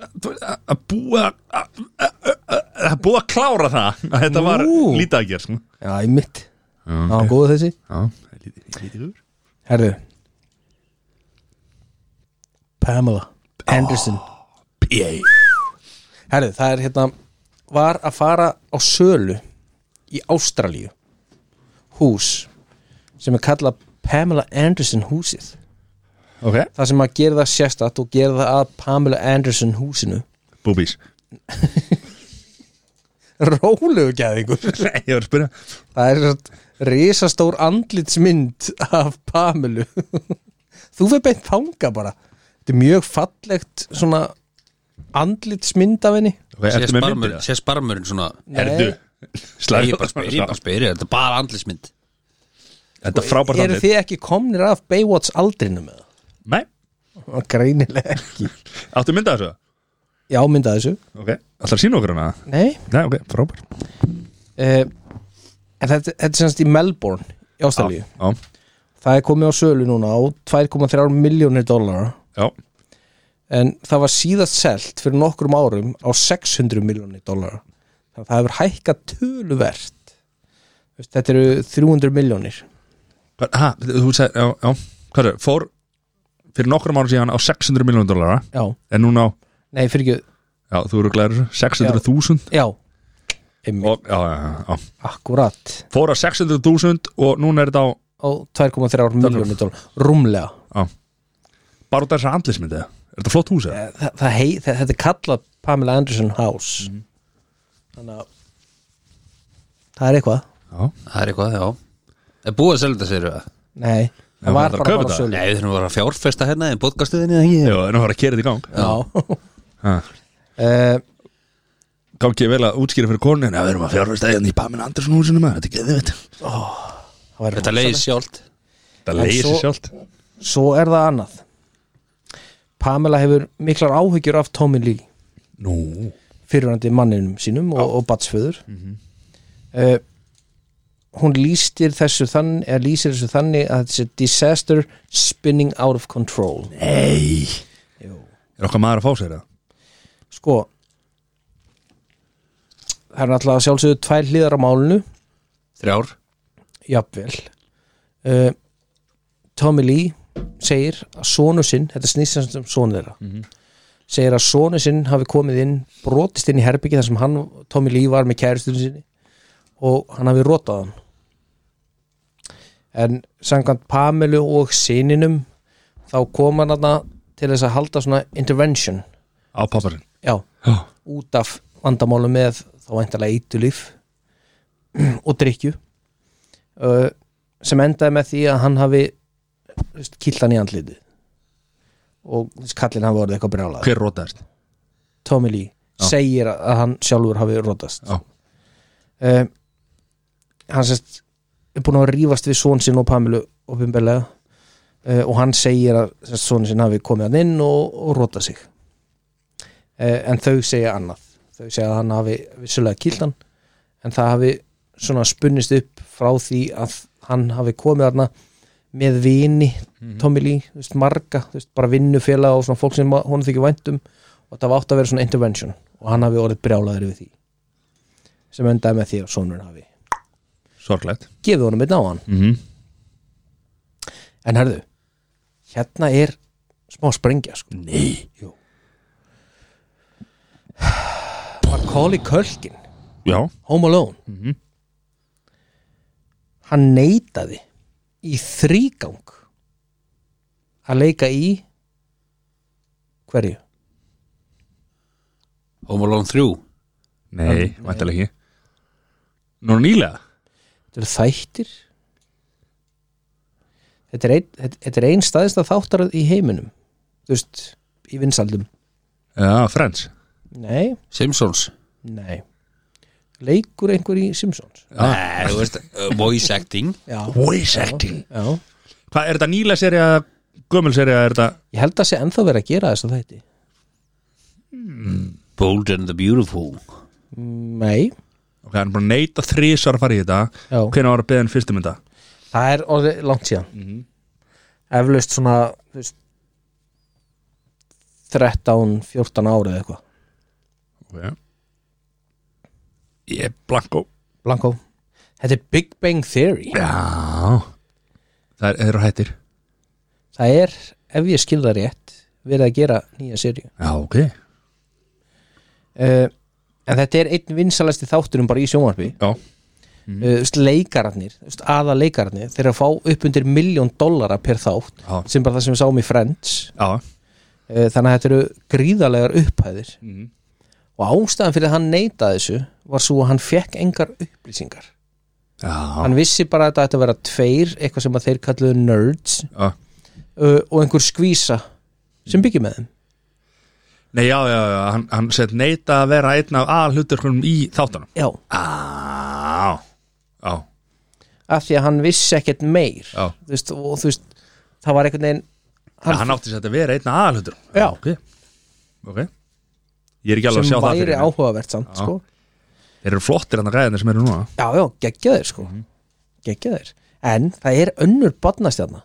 Að búa að- að- að að búa að klára það að Þetta var Nú. lítið að gera sko Já, ég mitt Já, Já, góðu þessi helviti helviti góður Herðu Pamela Anderson Ég Herðu, það er hérna Var að fara á sölu Í Ástralíu Hús Sem er kallað Pamela Anderson húsið Ok, Það sem að gera það sérstætt og gera það að Pamela Anderson húsinu búbís Rólegu gæðingur Nei, ég var að spyrja Það er svona risastór andlitsmynd af Pamelu Þú fyrir beint þanga bara Þetta er mjög fallegt svona andlitsmynd af henni Ok, ertu með myndir Sér sparmurinn svona Erðu Nei, ég bara spyr, ég bara spyr, er þetta bara andlismynd Þetta er frábært Eru andlit þið ekki komnir af Baywatch aldrinu með það? Nei, Og Greinilega ekki áttu mynda þessu Já, mynda þessu Ok, alltaf að sína okkur hana Nei Nei, ok, frábært uh, En þetta, þetta er semst í Melbourne í Ástælíu Já, Það er komið á sölu núna á 2,3 miljónir dólara já en það var síðast selt fyrir nokkrum árum á 600 miljónir dólara þannig að það hefur hækkað töluvert Þú veist, þetta eru 300 miljónir Hvað- Ha, þú sagði, já, já Hvað er, fór fyrir nokkrum árum síðan á 600 miljónum dollara já, en núna á, nei, fyrir ekki já, þú eru glæður 600.000 já, einmitt, og, já, já, já, já, akkurat fór á 600.000 og núna er þetta á á 2,3 miljónu dólar, rúmlega bara út af þessar andlismyndið, er þetta flott hús eða? Þa, það hei, það, þetta er kallað Pamela Anderson House þannig að það er eitthvað Já, Það er eitthvað, já Er búið að selja þetta sér það? nei, Já, það það er var að bara kaupa bara þetta. sölu Nei, við þurfum að vera að fjárfesta hérna í podcastuðinni ekki já en það var að kera þetta í gang já, Ha. uh, gangi ég vel að útskýra fyrir konu en við erum að fjárfæsta eða í Pamin Andersson húsinu maður, þetta er geðvitt það var Þetta leiði sjálft þetta En leiðir svo- sér sjálft svo er það annað Pamela hefur miklar áhyggjur af Tommy Lee nú, fyrirrandi manninum sínum og, og batsföður mm hún lýstir þessu þannig, eða lýsir þessu þannig að þetta sé disaster spinning out of control ei er okkar maður að fá sér það? sko það er náttúrulega að sjálfsögðu tvær hliðar á málinu Þrjár jafnvel uh, Tommy Lee segir að sonu sinn þetta snýst sem sem sonu þeirra segir að sonu sinn hafi komið inn brotist inn í herbyggi þar sem hann Tommy Lee var með kærustunni sinni og hann hafi rotað hann en samkvæmt Pamelu og sininum þá kom hann þarna til þess að halda svona intervention á papparinn já, Já. út af vandamálum með þá væntalega eitulíf og drykju uh, sem endaði með því að hann hafi kilt hann í andliti og þessi kallinn hafi orðið eitthvað brjálað hver rótaðist? Tommy Lee Já. segir að- að hann sjálfur hafi rótast Já. Eh, hann sérst er búin að rífast við són sinn og Pamilu opinberlega uh, og hann segir að són sinn hafi komið hann inn og, og rótað sig uh, en þau segja annað þau segja að hann hafi vissulega kýlt hann en það hafi svona spunnist upp frá því að hann hafi komið hann með vini Mhm. Tommy Lee, þú veist, marga þú veist, bara vinnufélaga og svona fólk sem hún þykir um. væntum og það var átt að vera svona intervention og hann hafi orðið brjálaður yfir því sem endaði með því að sonurinn hafi sorglegt gefið honum einn á hann mm -hmm. en herðu, hérna er smá sprengja sko nei Jú. Macaulay Culkin já, Home Alone hann neitaði í þrígang að leika í hverju? Home Alone 3 nei, vantilega ekki nú nýlega Þetta eru þættir Þetta er ein, þetta- þetta er ein staðista þáttarað í heiminum Þú veist, í vinsaldum já, Ah, Friends Nei, Simpsons nei Leikur einhver í Simpsons Nei, þú veist uh, Voice acting Já, voice acting já hvað, er þetta nýlega serið eða gömul serið eða er þetta Ég held að sé ennþá verið að gera þess að þætti Bold and the Beautiful Nei, ok, hann er bara neita þrísar að fara í þetta já hvernig var að beða en fyrstu mynda? Það er orðið langt síðan Mhm. Eflaust svona þú veist, 13, 14 árið eitthvað ok ég er blanko Blanko Þetta er Big Bang Theory já það er- eru hættir Það er, ef ég skil það rétt verið að gera nýja seríu já, ok uh, En þetta er einn vinsalasti þátturum bara í sjónvarpi Já, mm. uh, Leikararnir, aða leikararnir þeir að fá upp undir miljón dollara per þátt Já. sem bara það sem við sáum í Friends já, uh, Þannig að þetta eru gríðarlegar upphæðir Mhm. og ástæðan fyrir að hann neitaði þessu var svo að hann fekk engar upplýsingar já, hann vissi bara að þetta ætti að vera tveir eitthvað sem að þeir kalluðu nerds já. uh, og einhver skvísa sem byggir með þeim Nei, já, já, já, hann, hann sett neita að vera einn af aðalhuturkunum í þáttunum já, Já, já, af því að hann vissi ekkert meir Já. þú veist, og þú veist, það var einhvern veginn hann, hann átti sett að vera einn af aðalhuturkunum Já. ok, ok Ég er ekki alveg að sem sjá það væri fyrir mér. áhugavert samt Já. sko. Þeir eru flottir hann að gæðinni sem eru núna já, já, geggjaðir sko. geggjaðir, en það er önnur badnastjarna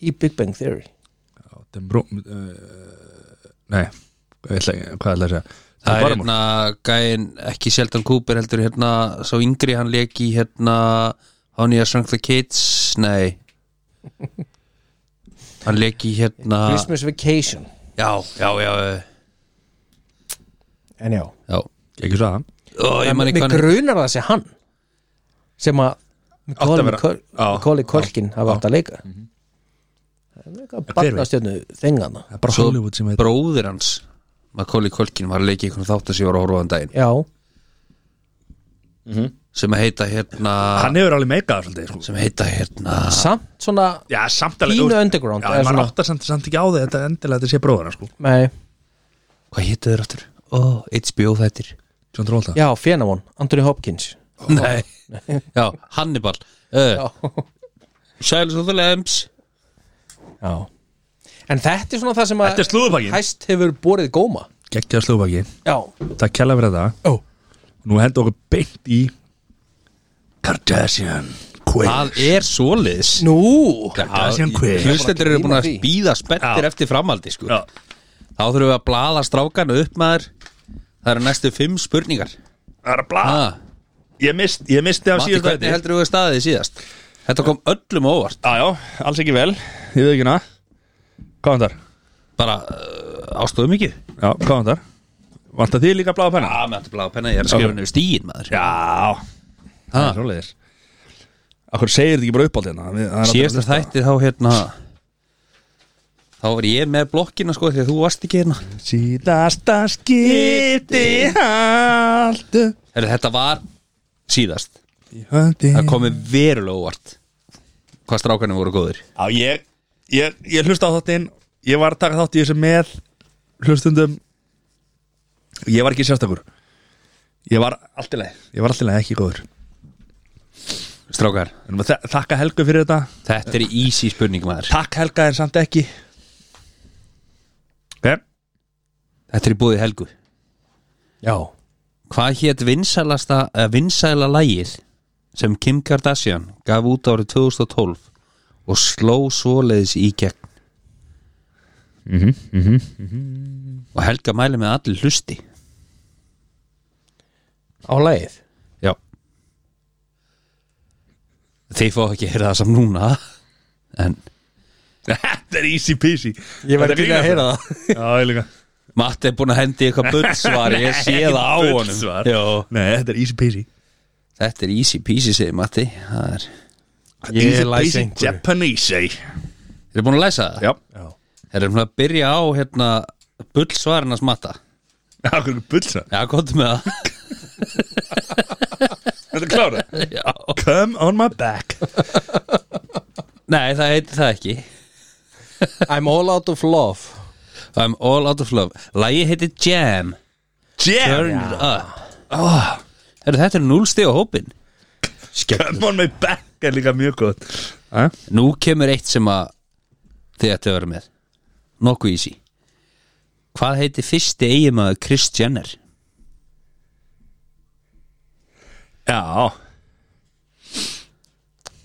í Big Bang Theory Já, þeim brú uh, Nei, ég ætla, ekki- hvað ætla ég að segja Það er Barmore. hérna gæin ekki Sheldon Cooper heldur hérna sá yngri hann leik í hérna Honey I Shrunk the Kids Nei Hann leik í hérna Christmas Vacation Já, já, já Já, En já, já. ekki svo aðan Ó, ég man mig ekki hann grunar að það sé hann sem að Átti að vera- Já. Kóli Kolkin hafa átt að leika Það er eitthvað hver veit? barnastjörnu þengana það er bara Svo Hollywood sem heit bróðir hans Macaulay Culkin var að leika í einhvern þátt að ég var að horfa á hann daginn Já, sem að heita hérna hann hefur alveg meikað það svolítið sko. sem heita hérna samt svona já, samt alveg Pínu þú veist- underground, já, eða maður svona. áttar samt, samt ekki á því þetta endilega þetta sé bróðina sko nei, Hvað hétu þeir aftur? Ó, HBO þættir John Travolta Já, Fenamon, Anthony Hopkins Nei Já, Hannibal uh, Já, Silence of the Lambs já En þetta er svona það sem að Þetta er slúðurpakkin. Hæst hefur borið góma geggjaða slúbaki Já, takk kjalla fyrir þetta Ó. nú hendur okkur beint í Kardashian Það Quails er svoleiðis nú Kardashian Quails Hlustendur eru búin að Því. býða spenntir Já. eftir framaldi sko. Já. Þá þurfum við að blaða strákan upp maður Það eru næstu fimm spurningar það er að blá ah, ég, mist, ég misti af Matti, síðast hvernig heldur við staðið síðast? Þetta kom öllum á óvart Ah, já, já, alls ekki vel ég veit ekki hana hvað vandar? Bara uh, ástóðu mikið já, hvað vandar? vantar þið líka bláða penna? Já, með þetta blaða penna, ég er að skrifa Ok. niður stíin maður já það er svoleiðis Akkur segir þetta ekki bara hérna? upp á þetta Síðasta þætti þá hérna Þá var ég með blokkina sko Þegar þú varst ekki hérna Síðasta skipti Haldu Heru, Þetta var síðast í höndi Það komið verulega óvart Hvað strákanum voru góðir Já, ég, ég, ég hlusta á þáttinn Ég var að taka þátt í þessu með hlustundum Ég var ekki sérstakur Ég var allt í leið Ég var allt í leið ekki góður Strákar, En maður þa- Þakka Helgu fyrir þetta þetta er easy spurning maður Takk Helga en samt ekki Ok Þetta er í búið helgu Já, Hvað hétt vinsælasta eh, vinsæla lægið sem Kim Kardashian gaf út árið 2012 og sló svoleiðis í gegn mm -hmm, mm -hmm. og Helga mæli með að allir hlusti á lagið Já Þeir fá ekki að heyra það saman núna En Þetta er easy peasy Ég var Þetta ekki að grínast. heyra það Já, ég líka Matti er búin að hendi eitthvað bullsvar Ég sé það á Nei, honum bullsvar. Já. Nei, þetta er easy peasy Þetta er easy peasy segir Matti Það er Ég Easy læs peasy einhverju. Japanese Þeir eru búin að læsa það? Já, Já, Þeir eru búin að byrja á hérna bullsvarinas Matta akkur bullsa Já, gott með það Þetta er klára Já. Come on my back Nei, það heitir það ekki I'm all out of love I'm all out of love Lægi heitir Jam Turn Jam it up Heru, Þetta er núlstig á hópin Come on my back er líka mjög gott Æ? Nú kemur eitt sem að þið ættu að vera með Nokkuð easy Hvað heitir fyrsti eiginmaður Chris Jenner? Já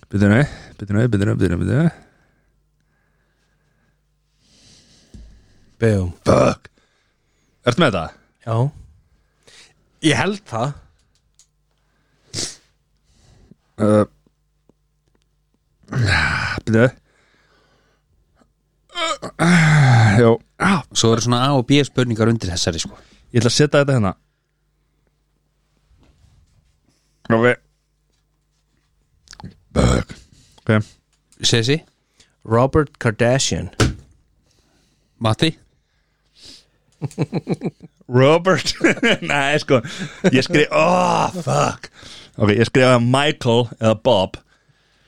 Byttu nöði, byttu nöði, byttu nöði, byttu nöði, byttu nöði Bum Fuck Ertu með þetta? Já Ég held það Uh, byttu nöði Jó ah, Svo eru svona A og B spurningar undir þessari sko Ég ætla að setja þetta hérna Ok Fuck Ok Sessi, Robert Kardashian Matti Robert Nei, sko Ég skrif, oh, fuck Ok, ég skrifaði Michael eða Bob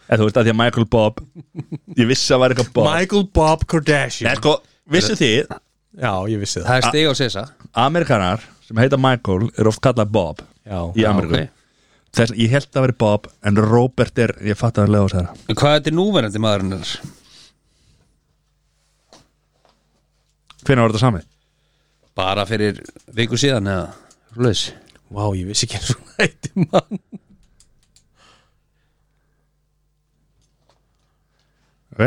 Eða þú veist að því að Michael Bob Ég vissi að það var eitthvað Bob Michael Bob Kardashian Nei, sko, vissu þið Já, ég vissi það Það er stig á Sessa Amerikanar sem heita Michael eru oft kallað Bob Já, Í Ameríku ok. Þess, ég held að vera Bob En Robert er, ég fatt að hann lega á þess Hvað þetta er núverandi maðurinn er? Hvenær var þetta sami? Bara fyrir viku síðan eða Laus Vá, ég vissi ekki eins og hætti mann Ok,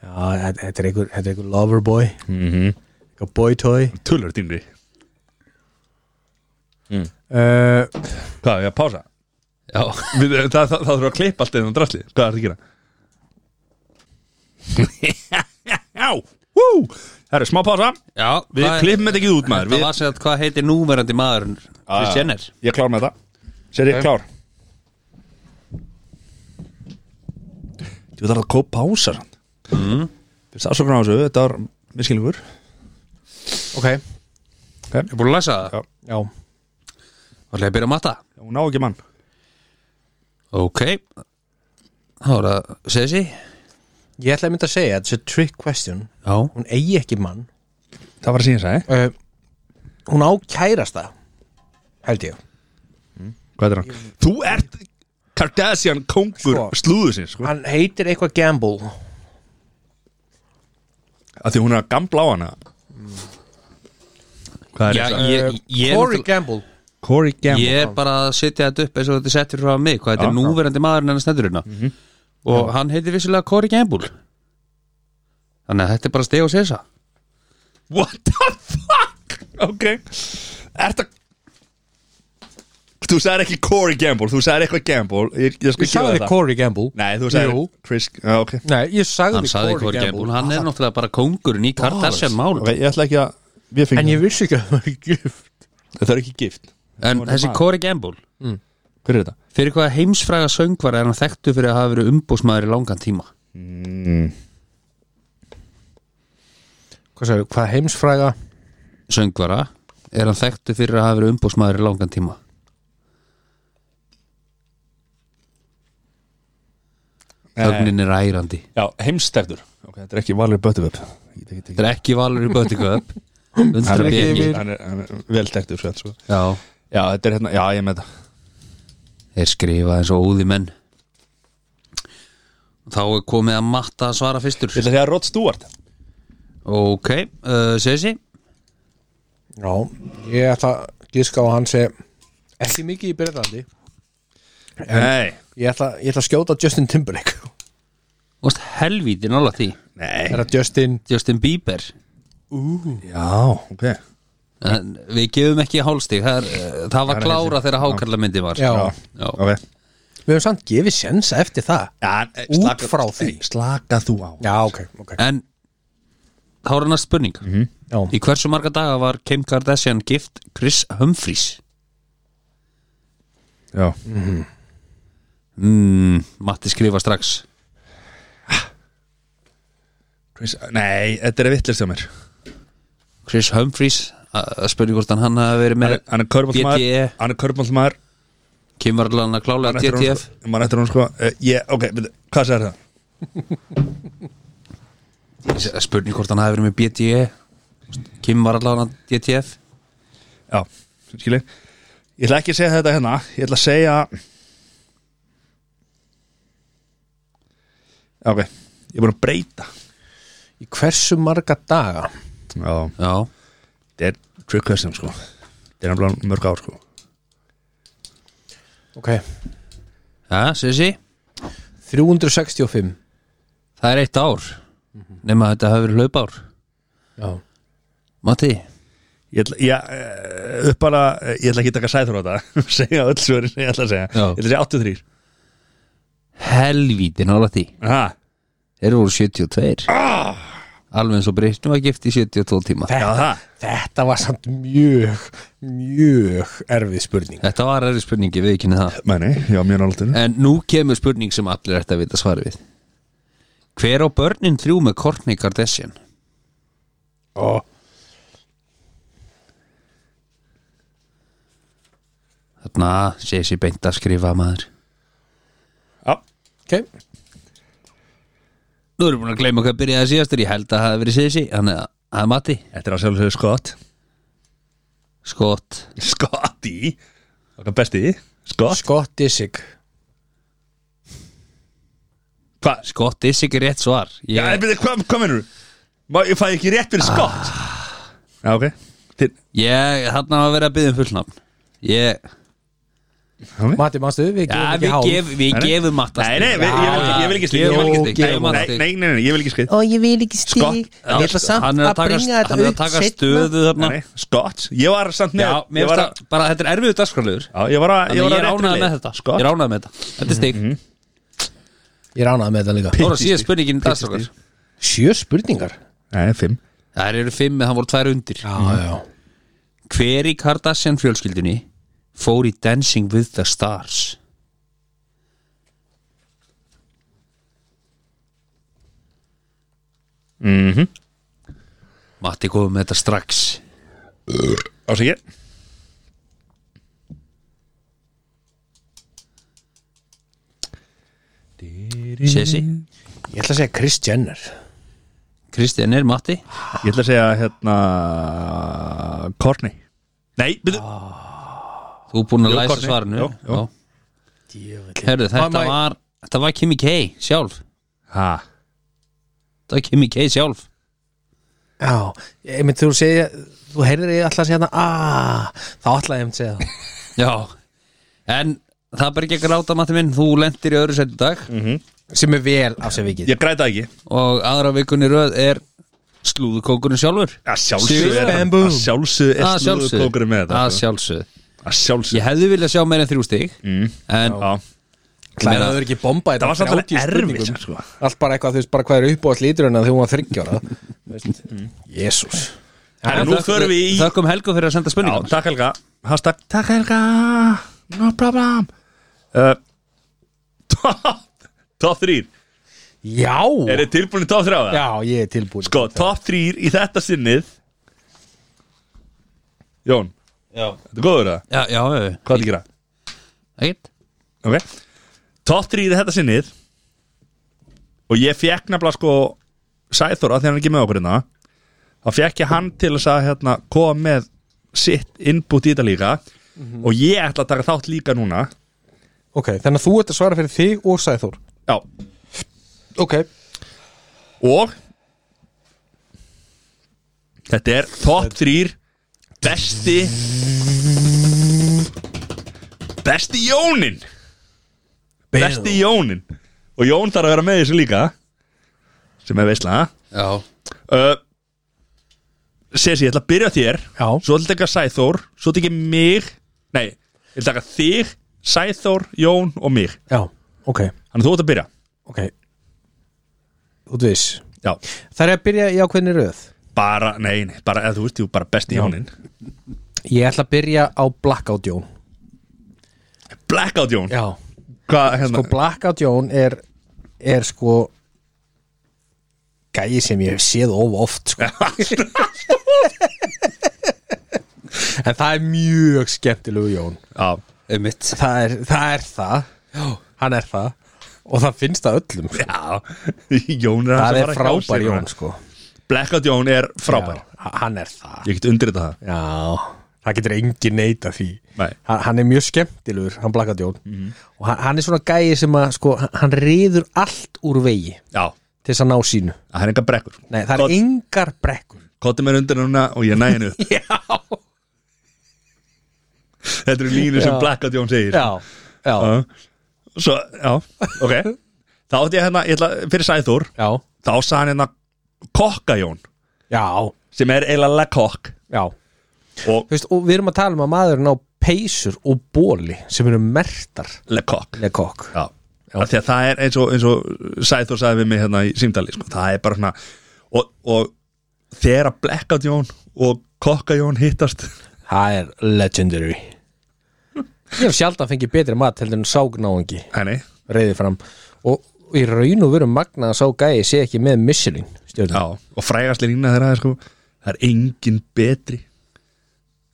Já, þetta- þetta er einhver, þetta er einhver loverboy mm Mhm. -hmm. Einhver boytoy tullur dýnri Mm. uh, Hvað, ég að pása? eh, Já Við, það, það, það þarf að klippa allt eða um drasli Hvað er það að gera? Já, hú Það er smá pása Já, Við klippum þetta ekki út maður Það við, var sem að hvað heitir núverandi maður Chris Jenner Ah, Ég er klár með þetta Sér ég klár Þú þarf að kópa pása mm. Fyrst ásökun á þessu, þetta var miskilningur Ok, Ég búin að læsa það Já. já Það er að byrja að matta Hún á ekki mann Ok Það var að segja þessi Ég ætla að mynda að segja að þetta er trick question Já Hún eigi ekki mann Það var að síðan sæði uh, Hún á kærasta Held ég Hvað er hann? Þú ert Kardashian kongur Sko. slúðusins sko. Hann heitir eitthvað Gamble að Því hún er að gamla á hana Mm. Hvað er Eh, Já, þetta? ég, ég, Corey ég, Gamble Corey Gamble ég er bara að setja þetta upp eins og þetta er settur frá mig hvað þetta Já, Mhm. er já. núverandi maðurinn hennar snedurina mm og hann heitir vissulega Corey Gamble þannig að þetta er bara steg og sesa What the fuck Ok Ertu að Þú sagðir ekki Corey Gamble Þú sagðir eitthvað Gamble Ég, ég skal Ég gefa sagði það Corey Gamble Nei, þú sagðir Jú. Chris Já, ok Nei, ég sagði, hann sagði Corey Gamble, hann er náttúrulega bara kóngurinn í Kardashian mál Ok, ég ætla ekki að Við En fengum ég vissi ekki að það var gift Það er ekki gift en þessi Corey Gamble Hver er þetta? fyrir hvaða heimsfræga söngvar er hann þekktu fyrir að hafa verið umbúsmaður í langan tíma Hvað, sagði, hvað heimsfræga söngvara er hann þekktu fyrir að hafa verið umbúsmaður í langan tíma þögnin er ærandi Já, heimstektur Ok, þetta er ekki valur Böttuvöp Þetta þetta er ekki valur í Böttiköp 100 bjengi Hann er, hann er vel tektur sveit svo já Já, þetta er hérna Já, ég er með þetta Þeir skrifa eins og óði menn Þá er komið að matta að svara fyrstur Vil það segja Rod Stewart? Ok, uh, Sessi Já, ég ætla að gíska á hann sé Ekki mikið í Breitlandi Nei Ég ætla, ég ætla að skjóta Justin Timberlake Vast helvíti nála því Nei Er það Justin Justin Bieber Já, ok en, Við gefum ekki hálstig Það, er, uh, það var klára þegar hákarla myndi var Já. Já. Ok Við höfum samt gefið sens eftir það Já, Út frá því. Slaka þú á Já, ok, ok En Þá er hann að spurning Mhm, Já, Í hversu marga daga var Kim Kardashian gift Chris Humphries Já mm, Matti skrifa strax Chris, nei, þetta er vittlist hjá mér Chris Humphries að spurning hvort hann hann hafi verið Hann með er- Hann er körbáltmaður BTE. Hann er körbáltmaður Kim var allan að klálega DTF Man eftir hún sko uh, ég, Ok, byrju, hvað segir það? spurning hvort hann hafi verið með BTE Kim var allavega hann DTF Já, skilji Ég ætla ekki að segja þetta hérna Ég ætla að segja Já, Ok, ég er búin að breyta í hversu marga daga Já já, Þetta er trick question sko Þetta er nefnilega mörg ár sko Ok ja, Sissi, 365 það er eitt ár Mhm. nema að þetta hafi verið hlaupár Já Matti, Ég ætla, ég, upp bara, ég ætla ekki að taka sæður á þetta segja öll svörin, ég ætla að segja Já. Ég ætla að segja 83 helvíti nála því Aha. þeir voru 72 alveg eins og Brittany var gift í 72 tíma Já, þetta, það þetta var samt mjög, mjög erfið spurning þetta var erri spurningi, við kynni það Mæni, já, mjög náttúrulega en nú kemur spurning sem allir ætti að vita svari við hver á börnin þrjú með Kourtney Kardashian Og þarna, Sissi beint að skrifa maður Já, Ok, Nú erum við búin að gleyma hvað byrjaði síðastur Ég held að það hafi verið Sissi Þannig að það er Matti þetta er að sjálfsögðu skott Skott Skotti Okkar besti Skott Scott Disick Hvað? Skott er sikir rétt svar Já, ég Ég, byrði, hvað hva minnur Má, ég fæ ekki rétt fyrir skott Já, ok Þinn ég hann að vera að byggja um fullnafn Ég, Mati, manstu, við já, gefum ekki við, hálf gef, við Nei, nei. gefum Matta Nei, nei, stig. við- ég vil ekki- ég vil ekki stig, ég vil ekki stig, Gefum nei, Matta nei, stig. nei, nei, nei, ég vil ekki skrið Og ég vil ekki stig Scott- Ég ætla samt Hann er að taka, bringa þetta hann er að upp taka seinna. stöðu þarna Nei, skott Ég var samt með Já, ég mér var finnst að bara þetta er erfiðu dagskráliður Já, ég var að Þannig að ég er réttri ánægð leið. með þetta Ég Skott er Mhm. ánægð með þetta Þetta er stig Ég ránaði með þetta líka Þóra síðan spurningin dagskráliður Sjö spurningar Nei, fimm Það eru fimm eða það voru tvær undir Já, já Hver í Kardashian fjölskyldunni fór í Dancing with the Stars? Mhm Matti komið með þetta strax Ásækja Sessi Ég ætla að segja Kris Jenner Kristján er Matti Ég ætla að segja hérna Korni Nei, byrju Þú er búin að Jú, læsa Courtney. svarinu Jú, jú. Já. Herðu, þetta Mamma- var Þetta var Kimi K sjálf Ha Þetta var Kimi K sjálf Já, ég myndi þú segja Þú heyrðir ég alltaf að segja það ah, Þá ætla ég að segja það Já En það ber ekki að gráta Matti minn Þú lendir í öðru sætt í dag Sem er vel af sér vikið Ég græta ekki og aðra vikunni röð er slúðukókurinn sjálfur Að sjálfsögðu Sigur er hann- Bamboo. Að sjálfsögðu er Að slúður sjálfsögðu. kókurinn með þetta Að sko. sjálfsögðu Að sjálfsögðu Ég hefði viljað sjá meira en þrjú stig mm. En Já. Það er ekki bomba Það var samt alveg 30 spurningum. erfitt sko. Allt bara eitthvað, þú veist, bara hvað er upp á allt lítur en að þú var Mm. þryggjóra Jésús Herra, Nú förum við í Þökkum Helgu fyrir að senda Já, spurningar takk Helga Hashtag takk Helga No problem uh, Top Top 3 Já, Er þið tilbúin í top 3? já, ég er tilbúin Sko, top 3 í þetta sinnið Jón Já, Þetta er góður það? já, já, já. Hvað er að gera? Ekkert Ok Top 3 í þetta sinnið Og ég fekk nefnilega sko Sæþóra þegar hann er ekki með okkur hérna Þá fekk ég hann til þess að hérna, koma með sitt innbútt í þetta líka Og ég ætla að taka þátt líka núna Ok, þannig að þú ert að svara fyrir þig og Sæþór Já, Ok Og Þetta er top 3 Besti Besti Jónin Besti Jónin Og Jón þarf að vera með þessu líka Sem er veisla Já, uh, Sessi, ég ætla að byrja á þér Já. Svo ætla að taka Sæþór Svo tekið mig Nei, ég ætla að taka þig, Sæþór, Jón og mig Já, ok, Þannig að þú ætla að byrja ok Þú veist Já, Það er að byrja í ákveðinni röð bara, nei, nei, bara, eða þú veist, jú, bara besti Jónin Ég ætla að byrja á Blackout Jón Blackout Jón Já Hvað, hérna, Sko Blackout Jón er er sko gæi sem ég hef séð of oft sko. En það er mjög skemmtilegu Jón já, einmitt Það er það, er það. Hann er það og það finnst það öllum sko. já Jón er Það hann sem er bara frábær hjá sér, Jón maður. sko. Blackout Jón er frábær Já, Hann er það Ég get undirrita það Já, það getur engin neita því Nei. hann, hann er mjög skemmtilegur, hann blakkaði Jón og hann, hann er svona gæi sem að sko, hann- hann reyður allt úr vegi Já, til þess að ná sínu það er enga brekkur Nei, það er Kott- engar brekkur Kottum er undir núna og ég næ henni upp. Já, Þetta eru línu sem Já. Blackout Jón segir já, já, Já. Svo, já, ok Þá átti ég hérna, ég ætla, fyrir Sæþór já, Þá sað hann hérna Kokka Jón já, Sem er eiginlega kokk já. Og Þú Veist, og við erum að tala um að maðurinn á peysur og bóli sem eru mertar lekokk eða kokk Já, já. Því að það er eins og, eins og Sæþór sagði við mig hérna í símdali sko. Það er bara svona Og, og þegar að Blackout Jón og Kokka Jón hittast það er legendary ég hef sjaldan fengið betri mat heldur en ságnáðingi Henni, reyði fram og og í raun og veru magna að sá gæi sé ekki með Michelin já stjórnum Og frægast lína þeirra sko, Það er engin betri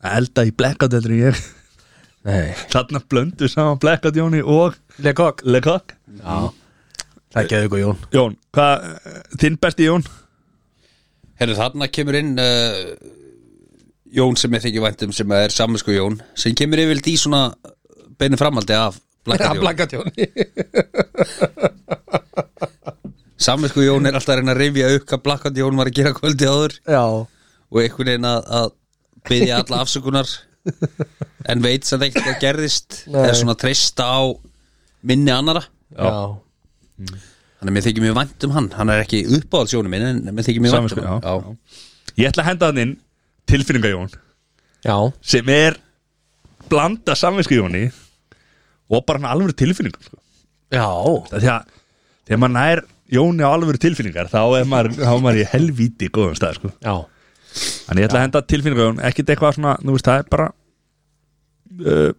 að elda í Blackout heldur en ég Þarna blöndu saman Blackout Jóni og Lekok Lekokk Það er geðugur Jón Jón, hvað, þinn besti Jón? Herru, þarna kemur inn uh, Jón sem ég þykir væntum sem er saminsku Jón sem kemur yfirlt í svona beinu framaldi af Blackout Jón Blakkat Jón Saminsku Jón er alltaf að reyna að rifja upp hvað Blackout Jón var að gera kvöldi áður Já og einhvern veginn að, að byggja alla afsökunar en veit sem ekkert hvað gerðist Nei. eða svona treysta á minni annara Já þannig að mér þykir mjög vænt um hann hann er ekki uppáhaldsjónu minn en mér þykir mjög vænt Samvisku, um já, hann já. Ég ætla að henda hann inn Tilfinninga Jón Já sem er blanda samvinsku Jóni og bara hann alveg tilfinninga sko. Já Það er því að þegar maður nær Jóni á alvöru tilfinningar þá er maður, þá er maður í helvíti góðum stað sko. Já, Þannig ég ætla að henda tilfinningar Jón, ekkit eitthvað svona, þú veist, það er bara uh,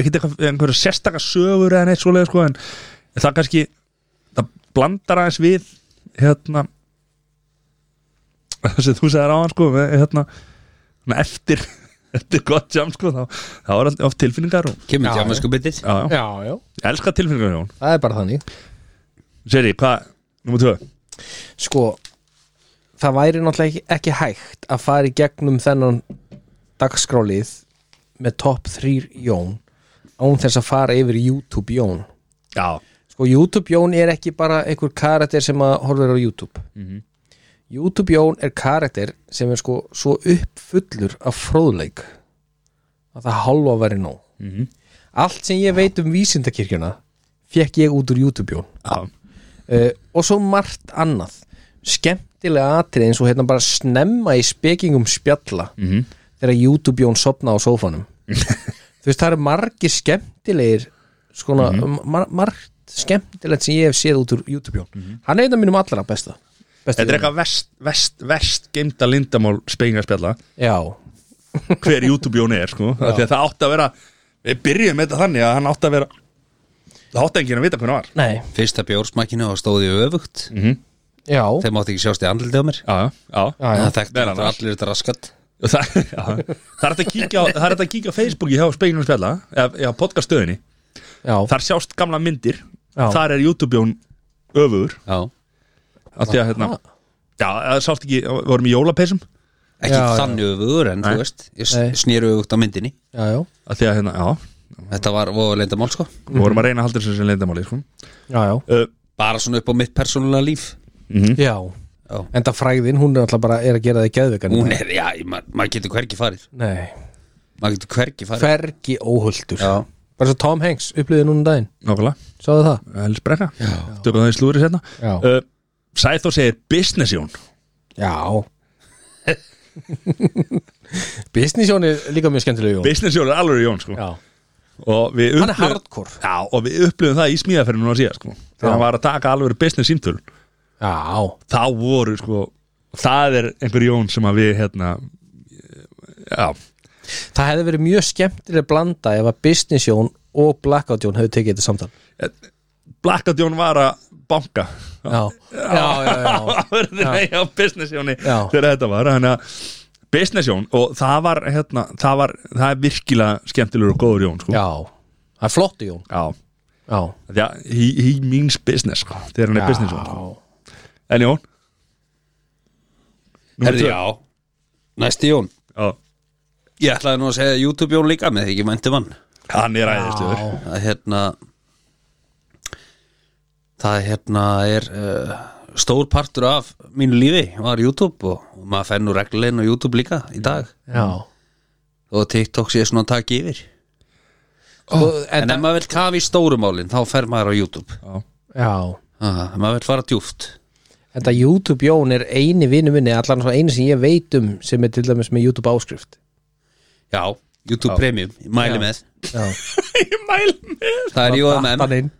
ekkit eitthvað einhverja sérstaka sögur eða neitt svolega sko, en það kannski það blandar aðeins við hérna það sem þú segir á hann sko með, hérna, svona eftir eftir gott jam sko, þá, þá er oft tilfinningar og, Kemur Já, tjáma sko bitið já, já. já, já, Ég elska tilfinningar Jón það er bara þannig Seri, hvað, nummer 2 Sko, það væri náttúrulega ekki, ekki hægt að fara í gegnum þennan dagskrálið með top 3 Jón án þess að fara yfir YouTube Jón Já, Sko, YouTube Jón er ekki bara einhver karakter sem að horfir á YouTube YouTube Jón er karakter sem er sko svo uppfullur af fróðleik að það halva væri nóg Mhm. Allt sem ég veit um vísindakirkjuna fekk ég út úr YouTube Jón já, uh, og svo margt annað skemmtilega atrið eins og hérna bara snemma í spekingum spjalla Mhm. þegar YouTube Jón sopna á sófanum þú veist það eru margir skemmtilegir skona, Mhm. mar margt skemmtilegt sem ég hef séð út úr YouTube Jón hann er einn af mínum allra besta, besta Mhm. Þetta er eitthvað vest, vest, vest geimta lindamál spengarspjalla já, hver YouTube-jóni er sko Af því að það átti að vera við byrjum með þetta þannig að hann átti að vera það átti enginn að vita hvernig var nei, Fyrsta bjórsmakkinu og stóði öfugt já Þeim átti ekki sjást í andlitið á mér Mhm. já, já, Já, já. Það þekkti Meðal þetta annars. allir þetta raskat Og Það, já. það er hægt að kíkja á, það er hægt að kíkja á Facebooki hjá speginum spjalla eða eða podcaststöðinni já, þar sjást gamla myndir Já. þar er YouTube-jón öfugur Já af því að hérna já, það sást ekki við vorum í jólapeysum Ekki Já, já. þannig öfugur en þú veist Ég Nei. s- sneri öfugt á myndinni já, já, af því að hérna já Þetta var voðalenda mál sko við vorum að reyna að halda þessu sem leindamáli sko já, já. uh, Bara svona upp á mitt persónulega líf já. Já. en það fræðin, hún er alltaf bara er að gera það í geðveikan Hún er, já, ég- ma- maður getur hvergi farið nei, Maður getur hvergi farið fergi óhultur Já. bara svo Tom Hanks upplýði núna um daginn nákvæmlega Sáðu það? Elsbrekka Tökum það í slúri setna Já. uh, Sæþór segir business Jón Já Business Jón er líka mjög skemmtileg Jón Business Jón er alveg Jón sko. Já, og, við hann er upplifum- hardcore Já, og við upplifum það í smíðaferðinu núna síðan sko. Þegar hann var að taka alveg business símtöl Já, Þá voru sko Það er einhver Jón sem að við hérna Já, það hefði verið mjög skemmtileg blanda ef að Business Jón og Blackout Jón hefði tekið þetta samtal Blackout Jón var að banka Já, já, já, já, Nei, á business Jóni Já. Þegar þetta var Þannig að business Jón Og það var, hérna, það var Það er virkilega skemmtilegur og góður Jón sko. já. Það er flottu Jón Já. Já, Já, he, he means business sko, þegar hann er business sko. En Jón Númer Herði, tvö. já Næsti Jón Já, Ég ætlaði nú að segja YouTube Jón líka með því ekki vænti vann Hann er æðistur að hérna það hérna er uh, stór partur af mínu lífi var YouTube og, og maður fær nú reglulegin á YouTube líka í dag já. og TikTok sé svona að taka yfir Sko, en, en, ef maður vil kafa í stórumálin þá fer maður á YouTube já. ah, ef maður vil fara djúft en það YouTube Jón er eini vinnu minni allan svo eini sem ég veit um sem er til dæmis með YouTube áskrift já, YouTube Premium, ég mæli með Já, Ég mæl með það er JMM, Þannig,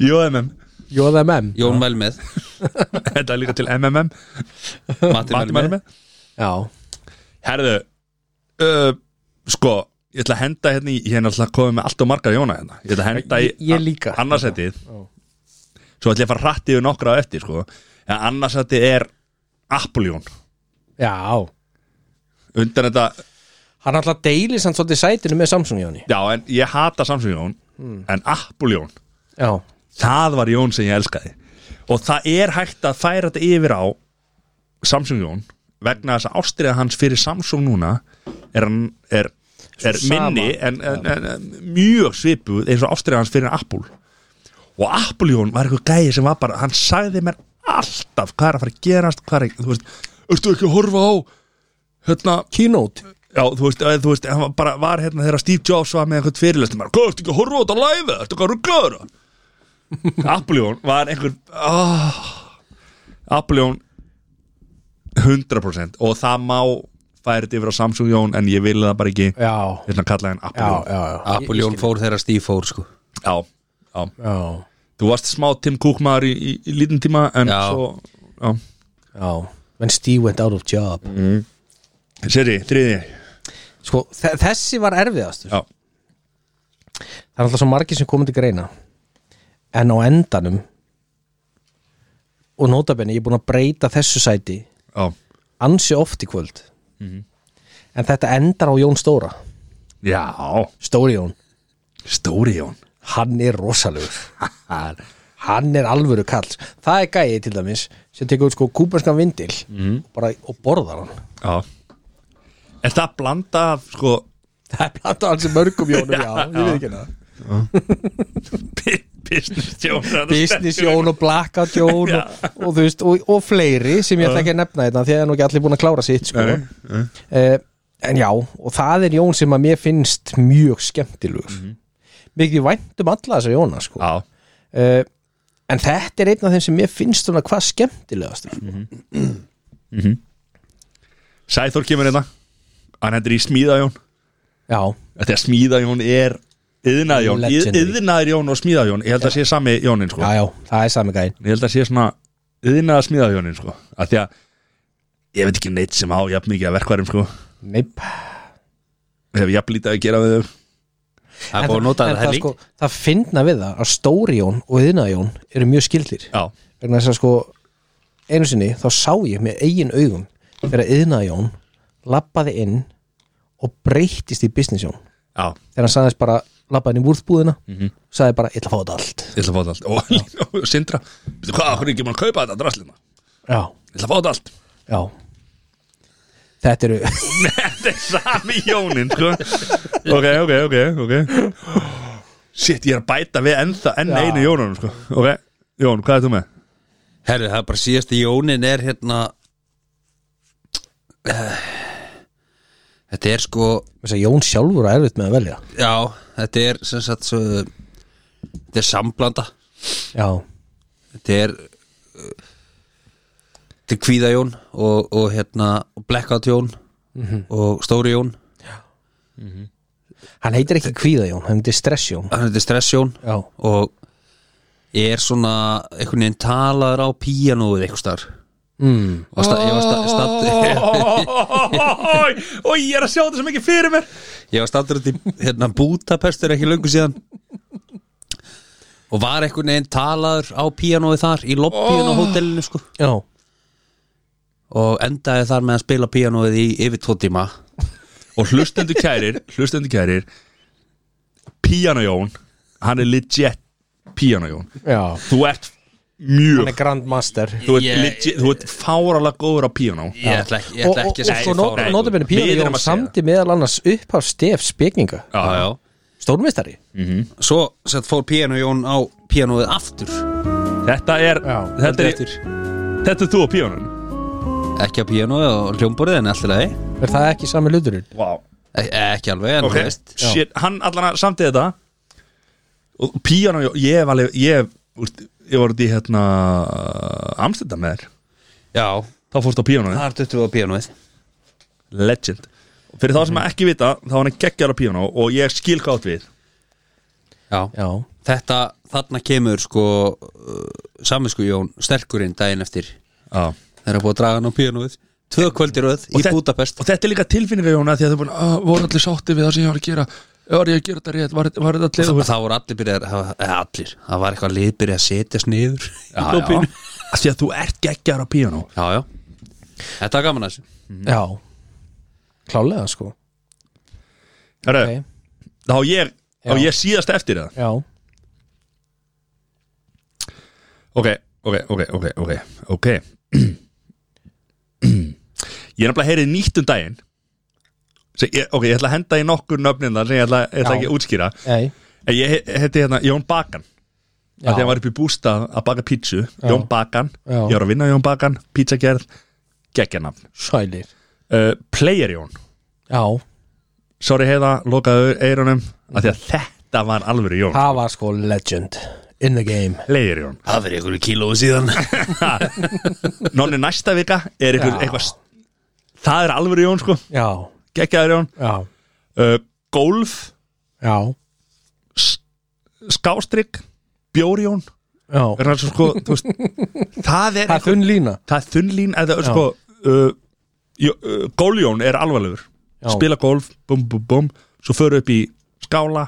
JMM, Jóðamem Jón mæli með þetta er líka til MMM Matti Matti mæl mæli með með Já, Herðu uh, Sko, ég ætla að henda hérna í Ég er náttúrulega komið með allt og margar Jóna hérna Ég ætla að henda í Ég- ég líka. annarsætið Svo ætla ég að fara hratt yfir nokkra á eftir sko. En annarsætið er Apple Jón já Undan þetta Hann alltaf deilir samt svolítið sætinu með Samsung Jóni Já, en ég hata Samsung Jón Hmm. En Apple Jón, Já, það var Jón sem ég elskaði Og það er hægt að færa þetta yfir á Samsung Jón Vegna þess að ástriða hans fyrir Samsung núna Er, hann- er, er Sú sama. minni en, en, en, en mjög svipuð Eins og ástriða hans fyrir Apple Og Apple Jón var eitthvað gæi sem var bara Hann sagði mér alltaf hvað er að fara að gerast Hvað er, þú veist, ertu ekki að horfa á Hérna, Keynote Já, þú veist, eða, þú veist, hann var bara var hérna þegar Steve Jobs var með einhvern fyrirlestum bara, hvað, ertu ekki að horfa á þetta live, eða? ertu ekki að rugglaður Appuljón var einhver oh, Appuljón 100% og það má færa þetta yfir á Samsung Jón en ég vil það bara ekki Já, hérna kalla henn já, Appuljón já, já. Apple Jón fór þegar Steve fór sko já, já, já. Þú varst smá Tim Cook maður í, í, í lítin tíma en Já. svo já. Já, when Steve went out of job Seri, þriði Sko, þe- þessi var erfiðast Já, Það er alltaf svo margir sem komið til greina En á endanum Og notabenni, ég er búin að breyta þessu sæti já, Ansi oft í kvöld Mhm. En þetta endar á Jón Stóra já Stóri Jón, Stóri Jón hann er rosalegur Það er- Hann er alvöru kall Það er gæið til dæmis sem tekur út sko kúpanskan vindil Mhm. og, bara, og borðar hann Já Er það að blanda af sko Það er plata hans í mörgum Jónum, já, ég veit ekki hérna. hana bi- Business Jón þetta Business stendur- Jón og Blackout Jón og, og, þú veist, og, og fleiri sem ég ætla ekki að nefna þetta því að það er nú ekki allir búin að klára sitt sko. Nei, nei. uh, En já, og það er Jón sem að mér finnst mjög skemmtilegur mm -hmm. Mikið væntum alla þessa Jóna sko. Mhm. Já, uh, En þetta er einn af þeim sem mér finnst svona hvað skemmtilegast Mhm. sko. Sæþór kemur hérna Hann hendur í smíða Jón Já, Þetta er smíða Jón er Yðnaði Jón Legendary. Yðnaði Jón og smíða Jón Ég held að sé sami Jónin sko já, já, það er sami gæn En ég held að sé svona yðnaða smiðaðjónin sko af því að ég veit ekki neitt sem á jafn mikið að verkværum sko Neip hef jafn lítið að gera við þau Það er búið að nota en það það, helling sko, það finna við það að Stóri Jón og Yðna Jón eru mjög skildir já, vegna þess að sko einu sinni þá sá ég með eigin augum þegar Yðna Jón lappaði inn og breyttist í Business Jón já, þegar hann sagðist bara lappaði inn í vúrðbúðina Mhm. sagði bara, ég ætla að fá þetta allt ég ætla að fá þetta allt og, og sindra, veitu hvað, hvernig ekki mann kaupa þetta draslina, já, ég ætla að fá þetta allt já þetta eru þetta er sami jónin sko ok, ok, ok, ok shit, ég er að bæta við ennþa enn Já. einu jónunum sko ok, Jón, hvað er þú með? Herru, það er bara síðast í jónin er hérna eh, Þetta er sko þess að Jón sjálfur er erfitt með að velja Já, þetta er sem sagt svo, Þetta er samblanda já, Þetta er eh, Þetta er kvíða jón og, og hérna blackout jón og stóri jón hann heitir ekki Kvíða Jón hann heitir Stress Jón hann heitir stress jón já, og er svona einhvern veginn talaður á píanóið eitthvað starf mm. og sta, ég var sta- stadd og ég er að sjá þetta sem ekki fyrir mér ég var stattur út í hérna Budapestur ekki löngu síðan og var einhvern veginn talaður á píanóið þar í lobbyin á hótelinu sko já, og endaði þar með að spila píanóið í yfir tvo tíma og hlustendur kærir hlustendur kærir Piano Jón, hann er legit Piano Jón, já þú ert hann mjög, er grandmaster þú ert, Ég- legit, þú ert fáralega góður á piano ég ætla ekki, ég og, og, ætla og ekki að svo segja not- fáránlegur. notabene Við Píða erum að Jón segja. samti meðal annars upp á stef spekinga já, já. stórmestari Mhm. svo sett fór píanó Jón á píanóið aftur þetta er Já, þetta er, eftir. þetta er þú á pianon ekki á píanóið og hljómborðið en alltaf leið er það ekki sami hluturinn? wow. E- ekki alveg, en ok, þú veist shit, hann allan að samtið þetta og piano Jón, ég hef alveg ég, hef, úst, ég var út í hérna Amstendam með þér, Já, þá fórst á piano þar duttum við á píanóið legend, fyrir þá sem að ekki vita þá var hann geggjar á piano og ég skil hvað átt við Já, Já, þetta, þarna kemur sko uh, saminsku Jón sterkurinn daginn eftir Já. þegar búið að draga hann á píanóið Tvö kvöldiröð í þet- Budapest og þetta er líka tilfinninga Jóna því að þau búin að voru allir sátti við það sem ég var að gera var ég að gera þetta rétt, var, var þetta Það, allir það voru allir byrjaðir, það var- eða allir það var eitthvað lið byrjað að setjast niður í lópinu. að því að þú ert geggjar á píano já, já Þetta var gaman að þessu Mhm. já Klálega sko Herru, okay. þá ég, þá Já. ég síðast eftir það Já, ok, ok, ok, ok, ok, ok ég er nefnilega heyrið nýtt um daginn sem, ég, ok, ég ætla að henda í nokkur nöfnin þar sem ég ætla, ég ætla Já. ekki að útskýra ei En ég he- heiti hérna Jón Bakan Já, Þegar hann var upp í bústa að baka pítsu Jón Bakan, Já. ég var að vinna hjá Jón Bakan Pítsagerð, geggjarnafn sælir uh, Player Jón Já, Sorry heiða, lokaðu eirunum af því að þetta var alvöru Jón það var sko legend In the game Player Jón Það verið einhverju kílóðu síðan Nonni næsta vika er ykkur Já. eitthvað s- Það er alvöru Jón sko, Já, geggjaður Jón já, uh, Golf, já skástrygg Bjór Jón Já, Vegna þess að sko, þú veist, það er það er þunn lína það er þunnlín eða Já. sko uh, jó, uh, góljón er alvarlegur Já. spila golf, bum bum bum svo föru upp í skála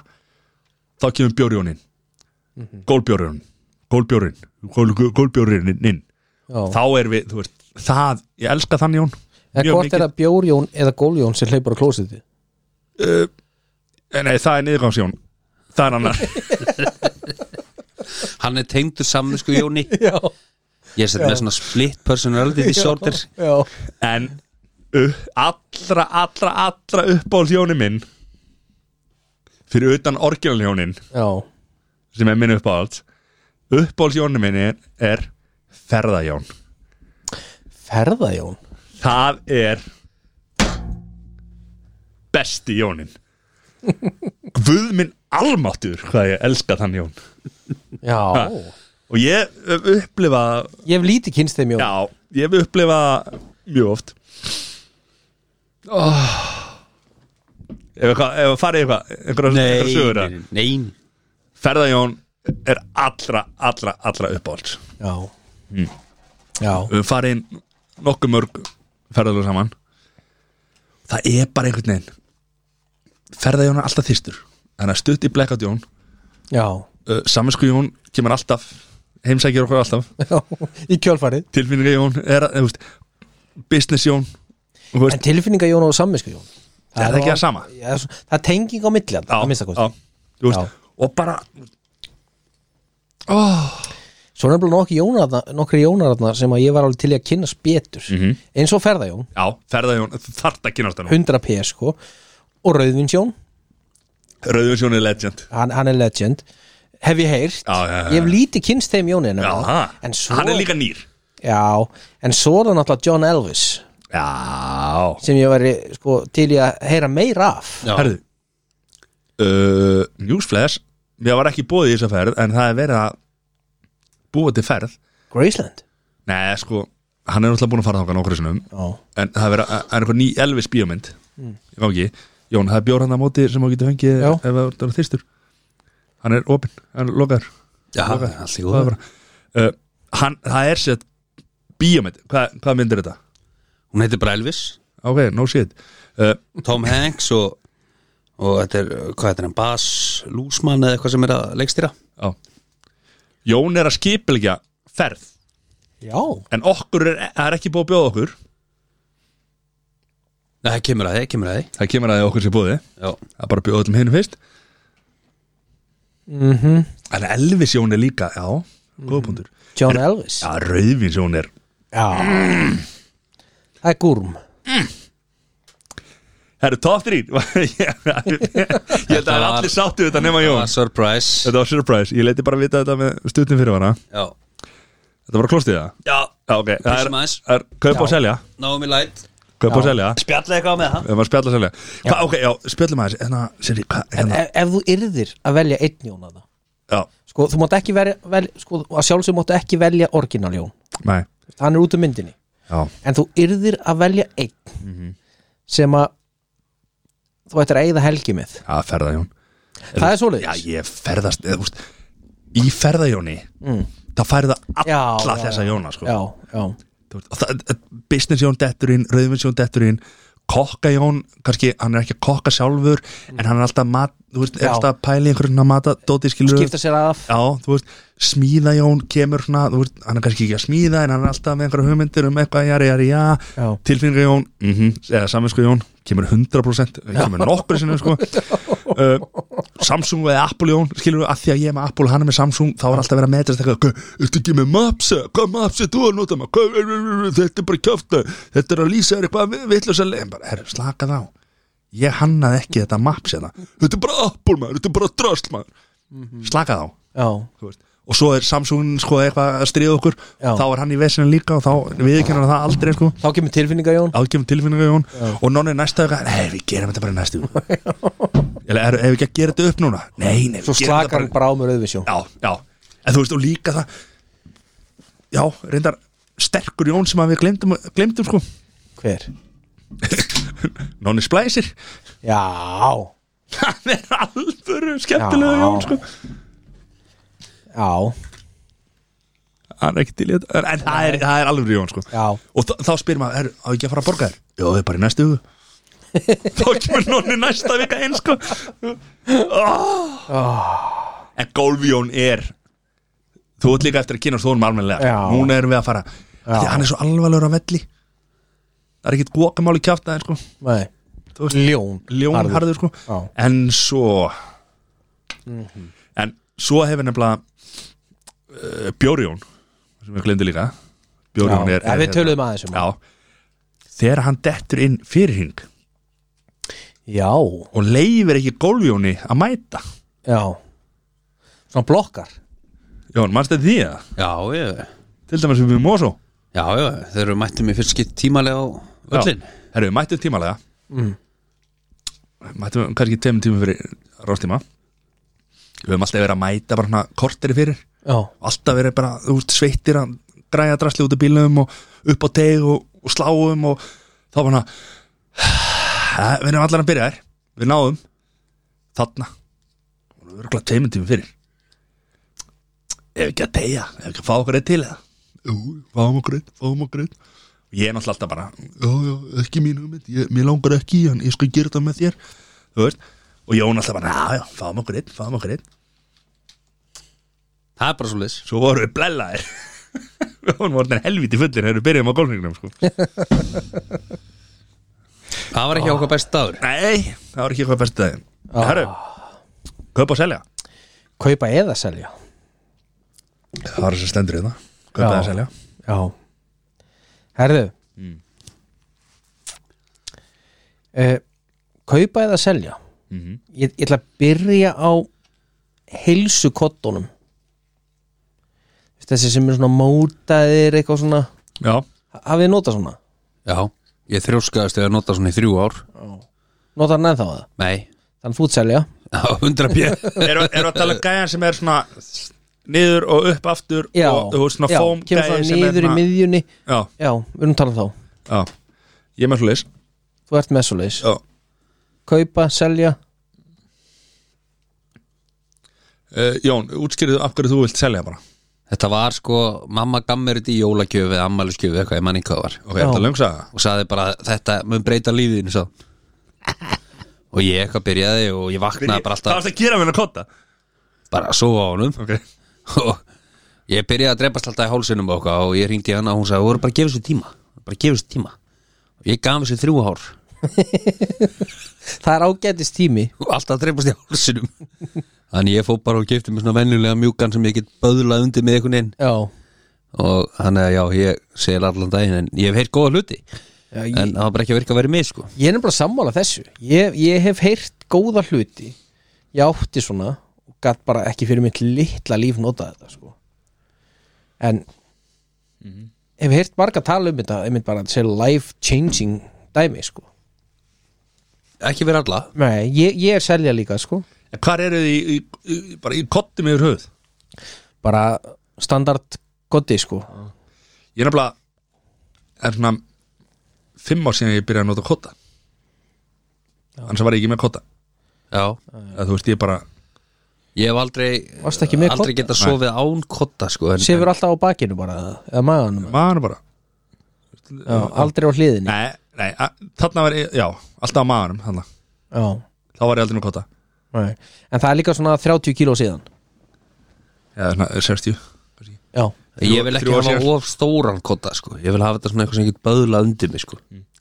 þá kemur bjórjónin mm Mhm. -hmm. gólbjórjónin gólbjórinn, gól, gólbjórinn Já. þá er við, þú veist, það ég elska þann Jón En mjög hvort mikið. er það bjórjón eða góljón sem hleypur á klósiti? uh, eh, nei, það er niðurgangs Jón það er annar, Hann er tengdur samvisku Jóni Já, Ég set með svona split personality disorder já, en uh, allra, allra, allra uppáld Jóni minn fyrir utan orginal Jónin já sem er minn uppáhalds uppáhaldsjónu minni er, er ferðajón Ferðajón það er besti jónin Guð minn almáttur hvað ég elska þann jón Já, og ég hef upplifað ég hef lítið kynst þeim jón já, ég hef upplifað mjög oft oh. ef, eitthvað, ef að fara í eitthvað einhverja einhverja sögur að- nein ferðajón er allra, allra, allra uppáhalds Já, Hmm. já. við höfum farið inn nokkuð mörg ferðalög saman það er bara einhvern veginn ferðajón er alltaf þýstur þannig að stutt í blekkat Jón já. uh, saminsku Jón kemur alltaf heimsækjur okkur alltaf já. Í kjölfarið tilfinninga Jón er, að- þú veist, business Jón þú En veist, tilfinninga jón og samvisku jón Er það ekki það sama? Já, svo- það er tenging á milli á, alltaf, að minnsta kosti. á, þú veist, Já. og bara Svo er nefnilega nokkri jónarna, nokkri jónarna sem að ég var alveg til í að kynna betur Mhm. eins og ferðajón, já, ferðajón, þarft að kynast hann 100 PS sko, og Rauðvinsjón Rauðjón Jón er legend hann, hann er legend hef ég heyrt, Já, já, já. ég hef lítið kynst þeim Jónin já, en svo, hann er líka nýr já, en svo er það náttúrulega John Elvis já, sem ég væri sko, til í að heyra meira af Já. Herðu uh, Newsflash Mér var ekki búið í þessa ferð En það er verið að búa til ferð Graceland Nei, sko, hann er náttúrulega búin að fara þáka nokkru sinnum já, En það er verið að, er einhver ný Elvis bíómynd Ég gangi Jón, það er bjór hann að móti sem á getur fengið Mm. Já. Ef það er þýstur Hann er opinn, hann er lokaður Já, Lokaður. allt í Það er góðu. bara- uh, hann, Það er sér bíómynd Hvað, hvað myndir þetta? Hún heitir bara Elvis Ok, no shit uh, Tom Hanks og, og þetta er, hvað þetta er hann, Bas Lúsmann eða eitthvað sem er að leikstýra á. Jón er að skipilegja ferð já, En okkur er, það er ekki búið að bjóða okkur Nei, það kemur að þið, kemur að þið Það kemur að því að okkur sé búið Já, Það er bara að bjóða öllum hinum fyrst Mhm. mm -hmm. En Elvis Jón er líka, já, góða punktur John Elvis Já, Rauðvins Jón er já það er gúrm Það eru top 3 Ég held að það er allir sáttu við þetta nema það Jón var surprise Þetta var surprise, ég leiti bara að vita þetta með stutnum fyrir hana Já, Þetta var klostið það já, Já, ok, það er, Pissum aðeins. það er kaup og Já. selja náum í læt Kaup og Já. selja Spjalla eitthvað með það Við erum að spjalla og selja Hva, Ok, já, spjallum aðeins Hérna, Siri, hvað, en hérna ef, ef þú yrðir að velja einn Jón að það Já, sko, þú mátt ekki velja, vel, sko, að sjálfsög máttu ekki velja orginal Jón nei, hann er út um myndinni já, en þú yrðir að velja einn Mhm. sem að þú ættir að eigða helgi með það ferða Jón það er Já, svoleiðis ég ferðast eða, úst, Í ferðajóni mm. Það færða alla Já, já, þessa já. Jóna sko. já, já, Þú veist, og það- það- Business Jón detturinn, Rauðvins Jón detturinn Kokka Jón, kannski Hann er ekki að kokka sjálfur En hann er alltaf, mat, þú veist, er Já. alltaf að pæla í einhverjum svona mata, Dóti skilur skipta sér af Já, þú veist, smíða Jón kemur svona, þú veist, hann er kannski ekki að smíða en hann er alltaf með einhverja hugmyndir um eitthvað jari, jari, já, Já. tilfinninga Jón mm eða saminsku Jón, kemur 100% kemur nokkur sinni, sko uh, Samsung eða Apple Jón skilur við, að því að ég er með Apple, hann er með Samsung þá er alltaf verið að metast eitthvað, "Hvað, ertu ekki með maps eða? hvað maps er þú að nota maður Hvað- þetta er bara kjáfta, þetta er að lýsa þér eitthvað vitlaus að leiðin, bara, herru, slaka þá ég hannaði ekki þetta maps eða, þetta er bara Apple maður, þetta er bara drasl maður, slaka þá já, Þú veist. og svo er Samsung sko eitthvað að stríða okkur Já. þá er hann í vesinu líka og þá viðkennur hann það aldrei sko þá kemur tilfinninga Jón ágefum tilfinninga í hún og nonni næsta vika, nei við gerum þetta bara í næstu viku." eða er, ef við ekki að gera þetta upp núna nei, nei, svo við gerum þetta slakar hann bara á mér auðvisjón já, já, en þú veist og líka það já, reyndar sterkur Jón sem að við glemdum, glemdum sko hver? nonni splæsir já, hann er alvöru skemmtilega Jón sko já hann er ekki til í þetta en það er, það er alveg Jón sko Já. og þa- þá spyr maður, er, á ekki að fara að borga þér? Jó, það er bara í næstu hugu þá kemur nonni næsta vika einn sko Ah. en Golfjón er þú ert líka eftir að kynast þónum almennilega Já. núna erum við að fara því hann er svo alvarlegur á velli það er ekkit guakamál í kjátt aðeins sko Nei, Þú veist- ljón ljónharður sko Já. Mhm. en svo en svo hefur nefnilega uh, Bjórjón sem við glemdi líka Bjórjón Já, er, ja, er við töluðum aðeins um já, þegar hann dettur inn fyrir hing Já, og leifir ekki gólfjóni að mæta já Svona blokkar Jón, mannst þetta því að Já, ég, til dæmis við Mosó já, já, þeir eru mættið mér fyrst skipt tímalega á öllin herru, við mættum tímalega mættum kannski tveim tímum fyrir rástíma við höfum alltaf verið að mæta bara hana korteri fyrir Já, alltaf verið bara, þú veist, sveittir að græja drasli út af bílum og upp á teg og, og sláum og þá var hann að "Ah, við erum allar að byrja þær, við náðum þarna og við erum glæð tveimund tími fyrir ef ekki að tegja ef ekki að fá okkur eitt til eða jú, fáum okkur eitt, fáum okkur eitt ég er náttúrulega alltaf bara, já, já, ekki mín hugmynd ég, mér langar ekki, í hann, ég skal gera þetta með þér þú veist, og Jón alltaf bara já, já, fáum okkur eitt, fáum okkur eitt Það er bara svo leis svo vorum við blellaðir við vorum orðin helviti fullir þegar við byrjum á golfningnum sko. Það var ekki okkar best dagur nei, það var ekki eitthvað bestið daginn ah. herru, kaupa og selja kaupa eða selja það var þess að stendur í það kaupa Já. og selja Já Herðu mm. Eh, Kaupa eða selja Mhm. ég, ég ætla að byrja á heilsu kottunum Þessi sem er svona mótaðir eitthvað svona já, Hafið þið notað svona? Já, ég þrjóskaðist eða nota svona í þrjú ár Notað hann ennþá það? Nei, Þannig þú ert selja á hundra bjöð eru er að tala um gæjan sem er svona niður og upp aftur Já, og þú veist svona já, foam kemur gæi svona sem er niður í svona- miðjunni já, Já, við erum talað þá já, ég er með svo leys Þú ert með svo leis já, Kaupa, selja uh, Jón, útskýrðu af hverju þú vilt selja bara Þetta var sko, mamma gammir þetta í jólagjöf eða ammælisgjöf eitthvað, ég manni hvað var ok, þetta löngsa það og saði bara þetta mun breyta lífiðinu svo og ég eitthvað byrjaði og ég vaknaði bara það alltaf varst að gera með hennar kotta bara að sofa á honum ok, og ég byrjaði að drepast alltaf í hálsinum og okkar og ég ringdi hana og hún sagði, þú voru bara að gefa sér tíma bara að gefa sér tíma og ég gaf sér þrjú hár Það er ágætist tími og alltaf að drepast í hálsinum þannig ég fór bara og gefti mér svona venjulega mjúkan sem ég get böðlað undir með einhvern veginn Já, og hann eða já, ég segir allan daginn en ég hef heyrt góða hluti já ég, en það var bara ekki að virka að vera mig sko Ég er nefnilega sammála þessu Ég, ég hef heyrt góða hluti Ég átti svona og gatt bara ekki fyrir mitt litla líf notað þetta sko. En hef heyrt marga tala um þetta einmitt bara að segja life changing dæmi sko. ekki vera alla Nei, ég, ég er selja líka sko. en hvar eru þið í, í, í, bara í kottum yfir höfuð bara standard goti sko. Ég er nefnilega er svona fimm ár síðan ég byrjaði að nota kotta annars var ég ekki með kotta já, eða þú veist ég bara Ég hef aldrei Varstu ekki með aldrei kodda? geta sofið án kotta sko, en, Sefur alltaf á bakinu bara eða maðanum maður bara já, Aldrei á hliðinni nei, nei, a- þarna var ég, já, alltaf á maðurum þarna. já, þá var ég aldrei með kotta nei. En það er líka svona 30 kíló síðan eða svona 60 Já, en ég vil ekki Þrjú ár hafa síðar. of stóran kotta sko. ég vil hafa þetta svona eitthvað sem getur böðlað undir mig sko.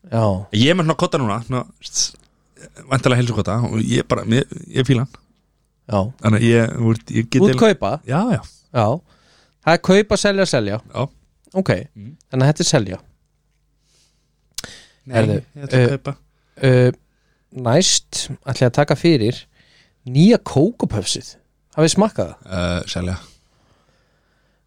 já, ég er með svona kotta núna svona, vantalega helsu kotta og ég bara, ég, ég fíla hann já þannig að ég, þú veist, ég get Útkaupa já, já, Já, það er kaupa, selja, selja já Ok, þannig að þetta er selja nei, Herðu, ég ætla að eh, kaupa uh, Næst ætla ég að taka fyrir Nýja kókupöfsið Hafið smakkað það? uh, selja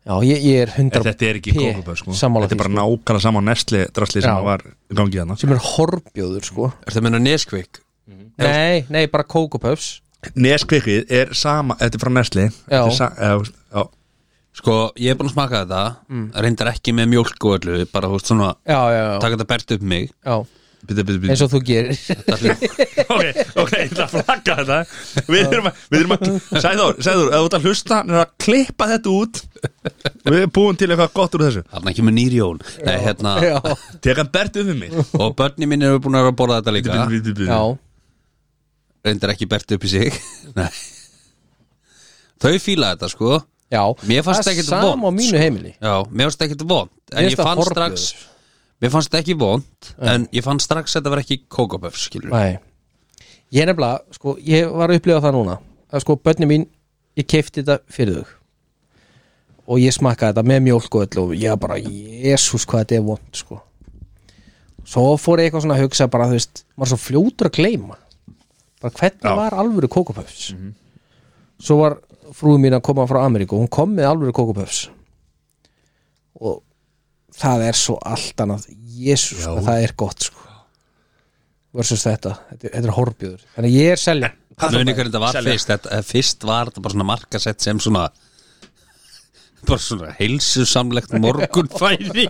Já, ég, ég er En hundra þetta er ekki P, kókuböð sko. sammála Þetta er því, bara nákvæmlega saman nesli drasli sem Já. var í gangi þarna sem er horfbjóður sko Er það meina neskvik? Nei, nei, bara kókupöfs Neskvikið er sama, þetta er frá nesli Þetta er sa- eða, þú veist, já. Sko, ég er búin að smaka Mm. þetta reyndar ekki með mjólk og öllu bara þú veist, svona, Já, já, já, taka þetta bert upp mig já Bíddu, bíddu, bíddu. eins og þú gerir ok, ok, ég ætla að flagga þetta við erum að, við erum að Sæður, Sæður, ef þú ert að hlusta hann er að klippa þetta út við erum búin til eitthvað gott úr þessu Þarna kemur nýrjón Nei, hérna, Já, tek hann Bertu við mig Og börni mín eru búin að borða þetta líka Bíddu, bíddu, bíddu. já, Reyndar ekki bert upp í sig Nei Þau fíla þetta sko já Mér fannst Það er ekkert vont, Sama á mínu heimili Já, mér fannst ekkert vond En Mér finnst ég það fann forbröður. strax Mér fannst þetta ekki vond En ég fann strax að þetta var ekki kókaböf skilur Nei Ég nefnilega, sko, ég var að upplifa það núna að sko, börni mín, ég keifti þetta fyrir þau og ég smakkaði þetta með mjólk og öll og ég bara, jesús hvað þetta er vond sko. svo fór ég eitthvað svona að hugsa bara, þú veist, maður er svo fljótur að gleyma bara hvernig Já. var alvöru kókupöfs svo var frúið mín að koma frá Ameríku og hún kom með alvöru kókupöfs og það er svo allt annað jesús, hvað það er gott sko versus þetta, þetta er, þetta er horfjöður þannig að ég er selja Muni hvernig þetta var Selja. fyrst þetta, eh, Fyrst var þetta bara svona markasett sem svona Bara svona heilsusamlegt morgunfæri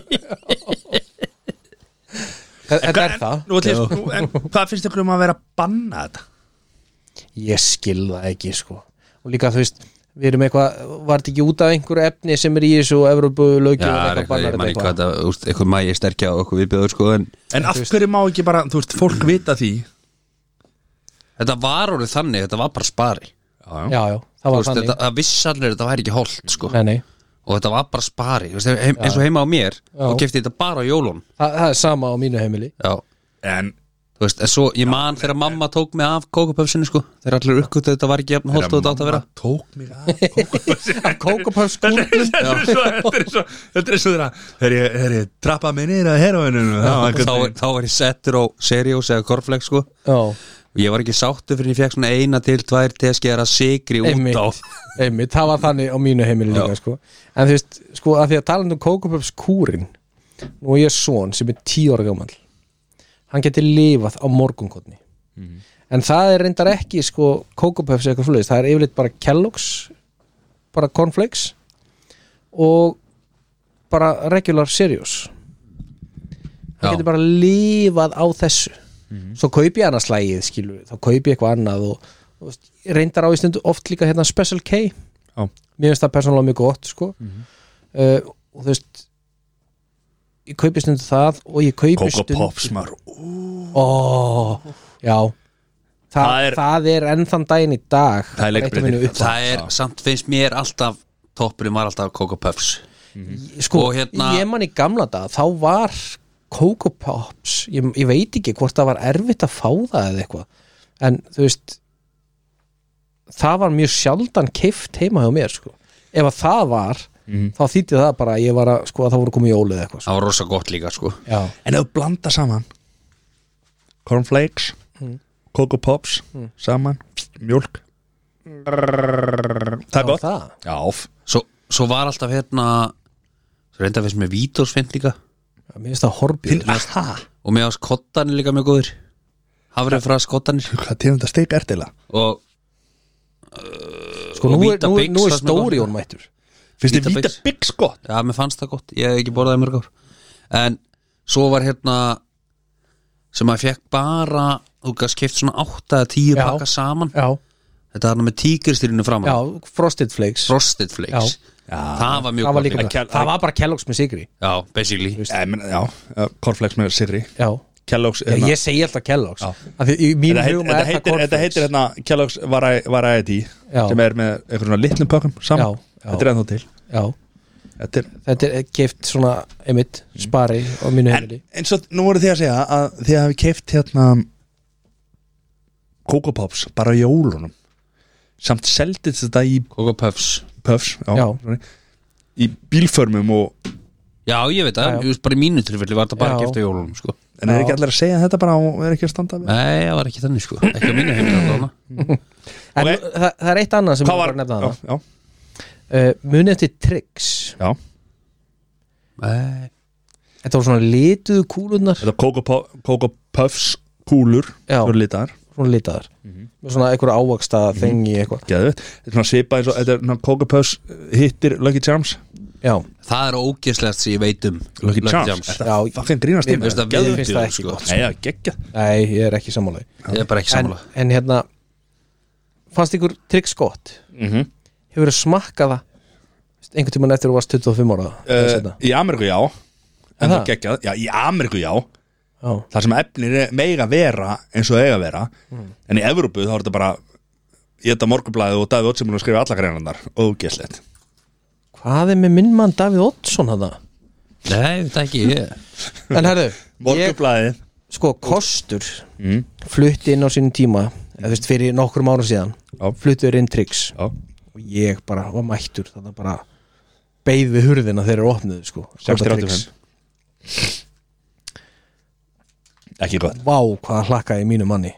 þetta er það, Nú, ætli ég- nú, en hvað finnst ykkur um að vera að banna þetta? ég skil það ekki sko. og líka þú veist við erum eitthvað, var þetta ekki út af einhverju efni sem er í þessu og Evropu lögjum Já, það er eitthvað, ég man ekki hvað þetta úst, Eitthvað mæ ég sterkja og eitthvað viðbjöður sko En en af hverju má ekki bara, þú veist, fólk vita því þetta var orðið þannig, þetta var bara spari já, já, já, það Þú var veist, þannig þetta, það vissanlega þetta væri ekki holdt sko nei, nei. og þetta var bara spari Þú veist, heim, eins og heima á mér Já. og kefti þetta bara á jólun Það, það er sama á mínu heimili já, en þú veist, en svo ég man þegar mamma tók mig af kókupöfsinu sko, þegar allir uppgötu þetta var ekki jafn holdt og þetta átt að vera Mamma tók mig að Kókupöfs Þetta er svo, þetta er svo, þetta er svo þeirra Þegar ég, þegar ég trappa mig niður að heroinunum þá var þá, einhvern- þá var ég settur á seriós eða korflex sko, já, og ég var ekki sáttu fyrir ég fekk svona eina til tvær teskeðar að sigri út á einmitt, einmitt það var þannig á mínu heimili líka sko. en þú veist, sko, að því að tala um Kókupöfs kúrin nú er ég son sem er tíu ára gamall hann geti lifað á morgunkotni en það er reyndar ekki sko, Kókupöfs eða eitthvað svoleiðis, það er yfirleitt bara Kellogg's bara Cornflakes og bara regular Sirius Já. hann geti bara lifað á þessu Mhm. svo kaupi ég annars lægið skilu þá kaupi ég eitthvað annað og, og veist, ég reyndar á í stundu oft líka hérna Special K Já. Mhm. mér finnst það persónulega mjög gott sko. uh, og þú veist ég kaupi stundu það og ég kaupi Coco stundu Pops maður Ó, já Þa, Það er- það, er, það er enn þann daginn í dag Það er leikbreyting. það, það er, samt finnst mér alltaf toppurinn var alltaf kókupöfs sko, og hérna- Ég man í gamla dag, þá var Coco Pops, ég, ég veit ekki hvort það var erfitt að fá það eða eitthvað en þú veist það var mjög sjaldan keift heima hjá mér sko ef að það var, þá þýtti það bara að ég var að, sko, að það voru komið jólið eða eitthvað sko. það var rosa gott líka sko Já, En ef þú blanda saman Cornflakes Coco Pops Saman Mjólk Það er það var gott það Já, svo, svo var alltaf hérna svo reynda finnst mér vítórsfinn líka Já, Mér finnst það horbjör og mér ást kottanir líka mjög góður hafrið frá skottanir hvað tegum þetta steik ertila og Sko, og nú er, Vita nú, Bix nú er fannst mér stóri gott. hún mættur Finnst þið Vita víta Bix. byggs gott? já, mér fannst það gott, ég hef ekki borðað í mörg ár en svo var hérna sem að fekk bara þú gæst keft svona 8 að 10 Já. pakka saman Já, þetta er hann með tíkristyrinu fram já Frosted Flakes frosted flakes það var mjög það var, gott líka, líka. Kell- það var bara Kellogg's með sigri já, basically Já, ég meina, já uh, Cornflakes með sirri já. Kellogg's Já, hérna- ég segi alltaf Kellogg's af því í mín Þetta heitir- hugum þetta er það heitir, þetta heitir hérna Kellogg's Vari- Variety Já. sem er með einhvern svona litlum pökkum saman Já, já. Þetta er ennþá til já, Þetta er þetta er keift svona einmitt spari á mínu En heimili eins og nú voru þið að segja að þið hafi keift hérna Coco Pops bara í jólunum samt seldið þetta í Coco Puffs Puffs já, Já. sorry, í bílförmum og já, ég veit Já, það, já. ég veist bara í mínu tilfelli var þetta bara Já. keft á jólunum sko en er ekki allir að segja þetta bara og er ekki að standa við nei, það var ekki þannig sko, ekki á mínu heimil en ok. það, það er eitt annað sem ég bara nefna já, það já, uh, munið eftir Trix já. nei þetta voru svona lituðu kúlunar þetta er Coco, Pop- Coco Puffs kúlur Já. svo litar svona litaðar Mhm. með svona einhverja ávaksta þengi eitthvað Geðvett. þetta er svona svipað eins og þetta er svona Coco Puffs hittir Lucky Charms já, Það er ógeðslegast sem ég veit um Lucky Charms Já, Þetta fucking grínast í Mér mér. Veist það, Geðveikt. við Finnst það ekki sko. gott. Nei, já, geggjað nei, ég er ekki sammálaði Ég er bara ekki en, sammála en hérna fannst ykkur tryggs gott Mhm. hefur þú smakkað það veist, einhvern tímann eftir þú varst 25 ára eða uh, seinna? Í Ameríku já En Er það það? geggjað Já, í Ameríku já já, Þar sem efnir er- mega vera eins og eiga vera Mm. En í Evrópu þá er þetta bara Ég þetta morgublaði og Davi Otsimur og skrifa alla greinarnar Ógeðslegt hvað er með minn mann Davíð Oddsson hana? Nei, þetta ekki ég en herðu, ég Morgublaði sko kostur flutti inn á sínum tíma eða þú veist fyrir nokkrum árum síðan Já. fluttur inn tryggs Já, og ég bara var mættur þannig að bara beið við hurðina þegar þeir opnuðu sko að kaupa 685 Trix. Ekki gott Vá hvað hlakkaði mínu manni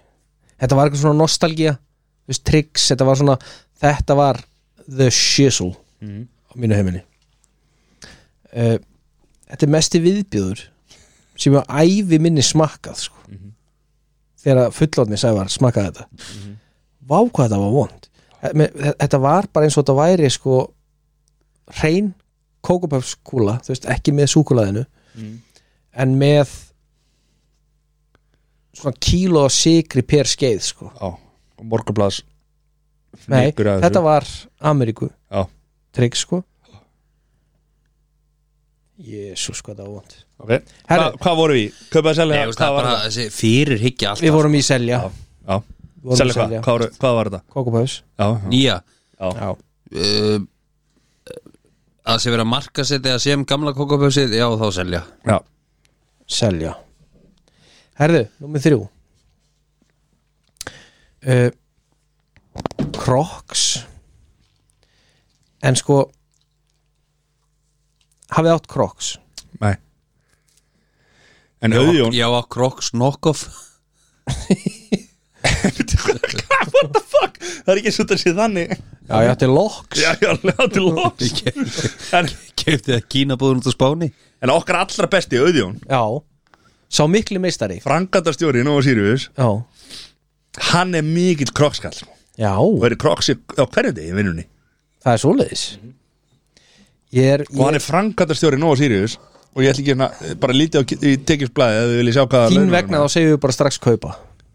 Þetta var eitthvað svona nostalgía þú veist, Tricks, þetta var svona Þetta var the shizzle á mínu heiminni uh, Þetta er mesti viðbjöður sem ég á ævi minni smakkað sko. þegar fullotni sævar smakkaði þetta Vá hvað þetta var vond Eh, Þetta var bara eins og þetta væri sko hrein kókupöfskúla þú veist, ekki með súkulaðinu en með svona kíló af sigri per skeið sko. Já, morgublaðs Nei, fnykur af þetta þessu. var Ameríku Já. trygg sko Jésús hvað það var vond okay. Hva, Herru, Hvað voru við? í? Kaupa að Nei, selja? þú veist, hvað það er var bara þetta? þessi fyrirhyggja alltaf við vorum í selja Já, já. Selja hvað? Hvað, voru, hvað var þetta? Kókupáðs Já, já. sko. Nýja Já, uh, Að sé vera markasetti að sé um gamla kokopöfsið Já, þá selja já. selja Herðu, númer þrjú uh, Crocs En sko hafið átt Crocs Nei En Já, Auðjón Já, á Crocs knockoff What the fuck? Það er ekki svo þetta sé þannig Já, ég átti Locks Já, já, ljátti loks en, Kefti það kínabúðun út á Spáni en okkar allra besti Auðjón Já, sá miklu meistari Frankandastjóri í Nova Sirius Já, Hann er mikill krokskall Og já er í kroksi á hverju degi í vinnunni það er svoleiðis Ég er, Og hann ég, er frankandastjóri í Nova Sirius Og ég ætla ekki hérna bara lítið á í tekjusblæði Ef þið viljið sjá hvað þín launin vegna er. þá segjum við bara strax kaupa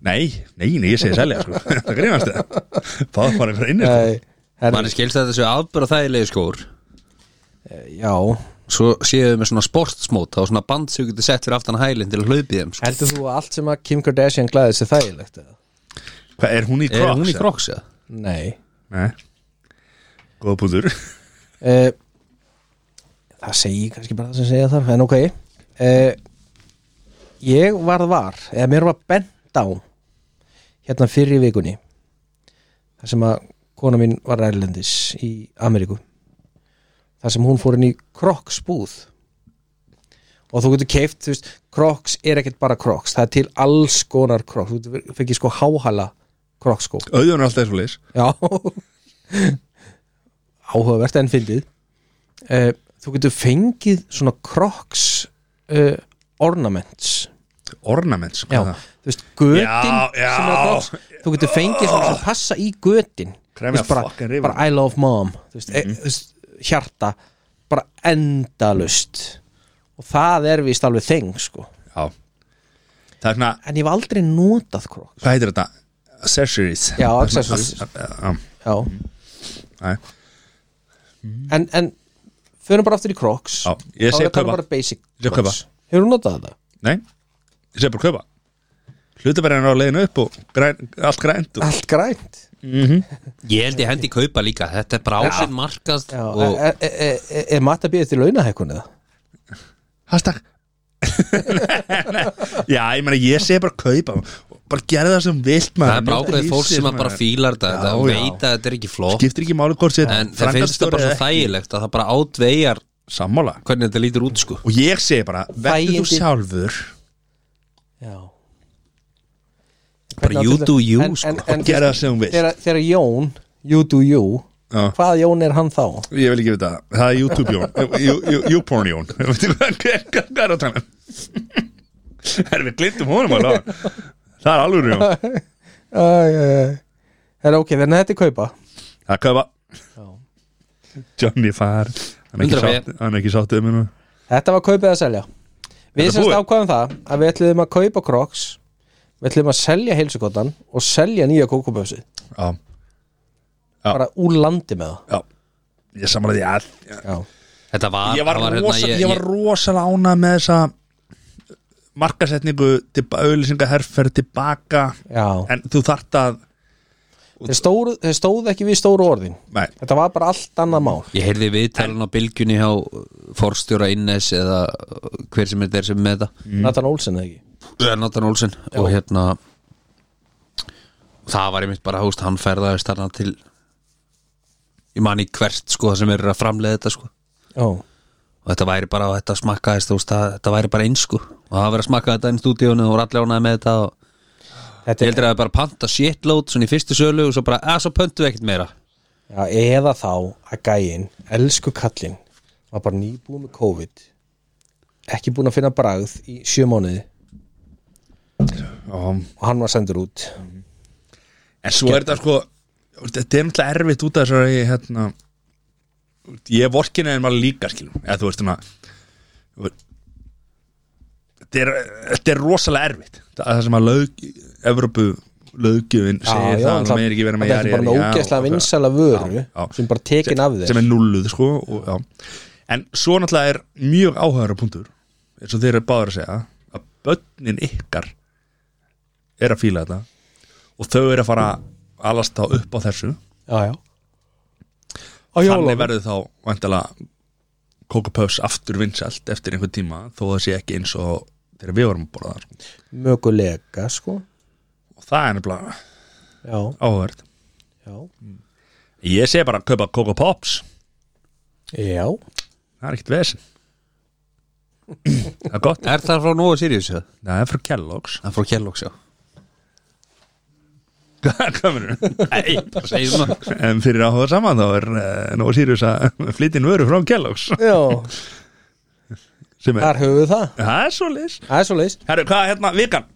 Nei, nei, nei, ég segi selja sko. Það grínast það Það var einhver inni sko. Nei, herri, Man er skilst að þessu afbara þægilegi skór Já, Svo séu við með svona sportsmót og svona band sem þú getur sett fyrir aftan hælinn til að hlaupi þeim sko. heldur þú að allt sem að Kim Kardashian glæðið sér þægilegt eða? Hvað, er hún í Er kroks? hún í Crocs eða? Nei Nei Góða búður uh, Það segi kannski bara það sem segja þar En ok uh, Ég varð var Eða mér var bent á Hérna fyrir vikunni Það sem að kona mín var ærlendis Í Ameríku Það sem hún fór inn í Crocs búð Og þú getur keift þú veist, Crocs er ekkert bara Crocs Það er til alls konar Crocs Þú getur- fengið sko háhala Crocs sko Auðjón er alltaf eins og leis Já Áhugavert enn fyndið uh, Þú getur fengið svona Crocs uh, ornaments Ornaments hvað Já, er sko, það? þú veist, götin Já, já. sem er Crocs Þú getur fengið svona sem passa í götin Kremja Þú veist, fucking Mhm. bara, rifin. bara I love mom þú veist, e, þú veist, Hjarta bara endalust og það er vist alveg þeng sko. Já Það er svona, en ég hef aldrei notað Crocs hvað heitir þetta? Accessories Já, Það er svona- accessories. Já, Já, já, en, en förum bara aftur í Crocs já Ég Þá segi er það kaupa um bara basic Ég segi kaupa. Crocs. Hefur þú notað þetta? Nei, ég segi bara kaupa Hlutabærin er á leiðinu upp og græn, allt grænt og... Allt grænt Ég held ég hendi kaupa líka Þetta er bara ásinn markast Já, e- og e- Er, er, er, er- er matta býðið til launahækkun eða? Hashtag Já, ég meina, ég segi bara kaupa Bara gera það sem vilt maður það er bara Njóta ákveðið fólk lífsins, sem að bara maður. fílar þetta e- Já, Þetta já. veit að þetta er ekki flott Skiptir ekki máli hvort sér En það finnst það bara svo þægilegt að það bara átvegar Sammála hvernig þetta lítur út sko Og ég segi bara, verður þú Þægindi. sjálfur Já Bara you do you sko og gera það sem þú vilt Þegar þegar Jón, you do you Já. Hvað Jón er hann þá? Ég vil ekki vita það, það er YouTube Jón YouPorn Jón Ég veit ekki hvað- hvað- Hvað er að tala um? Erum við glindum honum alveg Það er alveg Jón Æ, æ, æ. Það er ok, þannig að þetta er kaupa Það er köpa Johnny Farr Hann er ekki Undra hvað ég- sátt- hann er ekki sáttið um hennu Þetta var kaupið að selja Við Þetta semst búið? ákvaðum það að við ætluðum að kaupa Crocs Við ætluðum að selja heilsukotan og selja nýja kókuböfsi Já, Já. bara úr landi með það já Ég samanlega því að Já. Þetta var, Ég var, það hérna, rosa, ég var rosalega ánað með þessa markasetningu auðlýsingaherferð tilbaka Já. en þú þart að Þeir, stóru, þeir stóðu ekki við stóru orðin nei, Þetta var bara allt annað mál Ég heyrði viðtælun á bylgjunni hjá forstjóra Innes eða hver sem er þeir sem er með það Nathan Olsen eða ekki mm. Nathan Olsen og hérna það var einmitt bara húst hann ferðaðist þarna til ég man í hvert sko það sem er að framleiða þetta sko Já. og þetta væri bara þetta smakkaðist þú veist það þetta væri bara eins sko og það verið að smakka þetta inn í stúdíónu og voru allir ánæði með þetta og ég Þetta er, heldur að það bara panta shitload svona í fyrstu sölu og svo bara að svo pöntu ekkert meira já, eða þá að gæin, elsku kallinn var bara nýbúin með COVID ekki búin að finna bragð í sjö mánuði já, og hann var sendur út en svo er þetta sko þetta er náttúrulega erfitt út af þessari hérna, ég vorkina en maður líka skilum eða þú veist svona þetta er, þetta er rosalega erfitt það, það sem að lög Evropu löggjöfin segir það að það meir ekki vera með þetta er jari, bara með jari, já, ógeðslega og- vinsala vöru Já, já. sem bara tekin af þeir sem er nulluð sko og, já. en svo náttúrulega er mjög áhugaður punktur eins og þeir eru báður að segja að börnin ykkar er að fíla þetta og þau eru að fara að alast þá upp á þessu já, já. Á þannig jólum verður þá vantala Coca Puffs aftur vinsælt eftir einhvern tíma þó það sé ekki eins og þegar við vorum að borða það sko. möguleika sko og það er nefnilega já, áhugavert já, ég segi bara að kaupa Coca Pops já, það er ekkert vesen það er gott Er það frá Nóa Sirius? eða? það er frá Kellogg's Það er frá Kellogg's já hvað mennur Nei, bara segjum svona En fyrir áhuga saman þá er uh, Nóa Sirius að flytja inn vöru frá Kellogg's já. sem er, þar höfum við það það er svo lis það er svo leist Herru, hvað er hérna, vikan?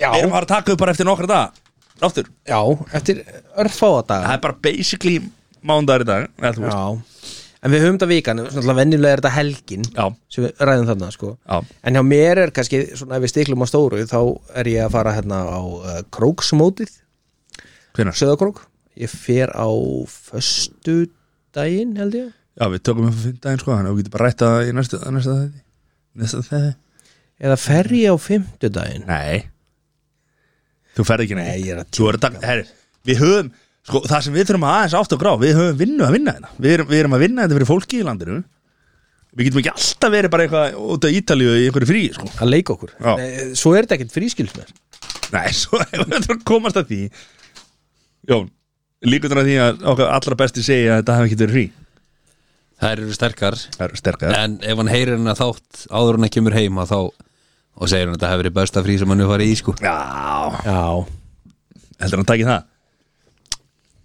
já, Við erum að fara að taka upp bara eftir nokkra daga Aftur, já, eftir örfáðadag það er bara basically mándagur í dag eða þú veist. já, en við höfum þetta vikan svona venjulega er þetta helgin Já, sem við ræðum þarna sko já, en hjá mér er kannski svona ef við stiklum á stóru þá er ég að fara hérna á uh, króksmótið hvenær? Söðakrók Ég fer á föstu daginn held ég Já, við tökum upp að finna daginn sko Þannig að við getum bara rætt að í næsta, næsta þeði Næsta þeði? Eða fer ég á fymtu daginn Nei Þú ferð ekki Nei, ég er að Þú er að taka, herru, við höfum Sko, það sem við þurfum að aðeins átt og grá Við höfum vinnu að vinna þetta Við erum, við erum að vinna þetta fyrir fólki í landinu Við getum ekki alltaf verið bara eitthvað út af Ítalíu í einhverju frí, sko að leika okkur Já. Nei, Svo er þetta ekkert frískilsmer Nei, svo við þurfum að komast að því Jón, líkundur að því að okkar allra besti segja að þetta hafi ekki verið frí Það eru sterkar Það er sterkar En ef hann heyrir hennar þátt áður en hann kemur heima þá og segir hann að þetta hefur verið besta frí sem hann er farið í sko Já, Já, heldur hann takið það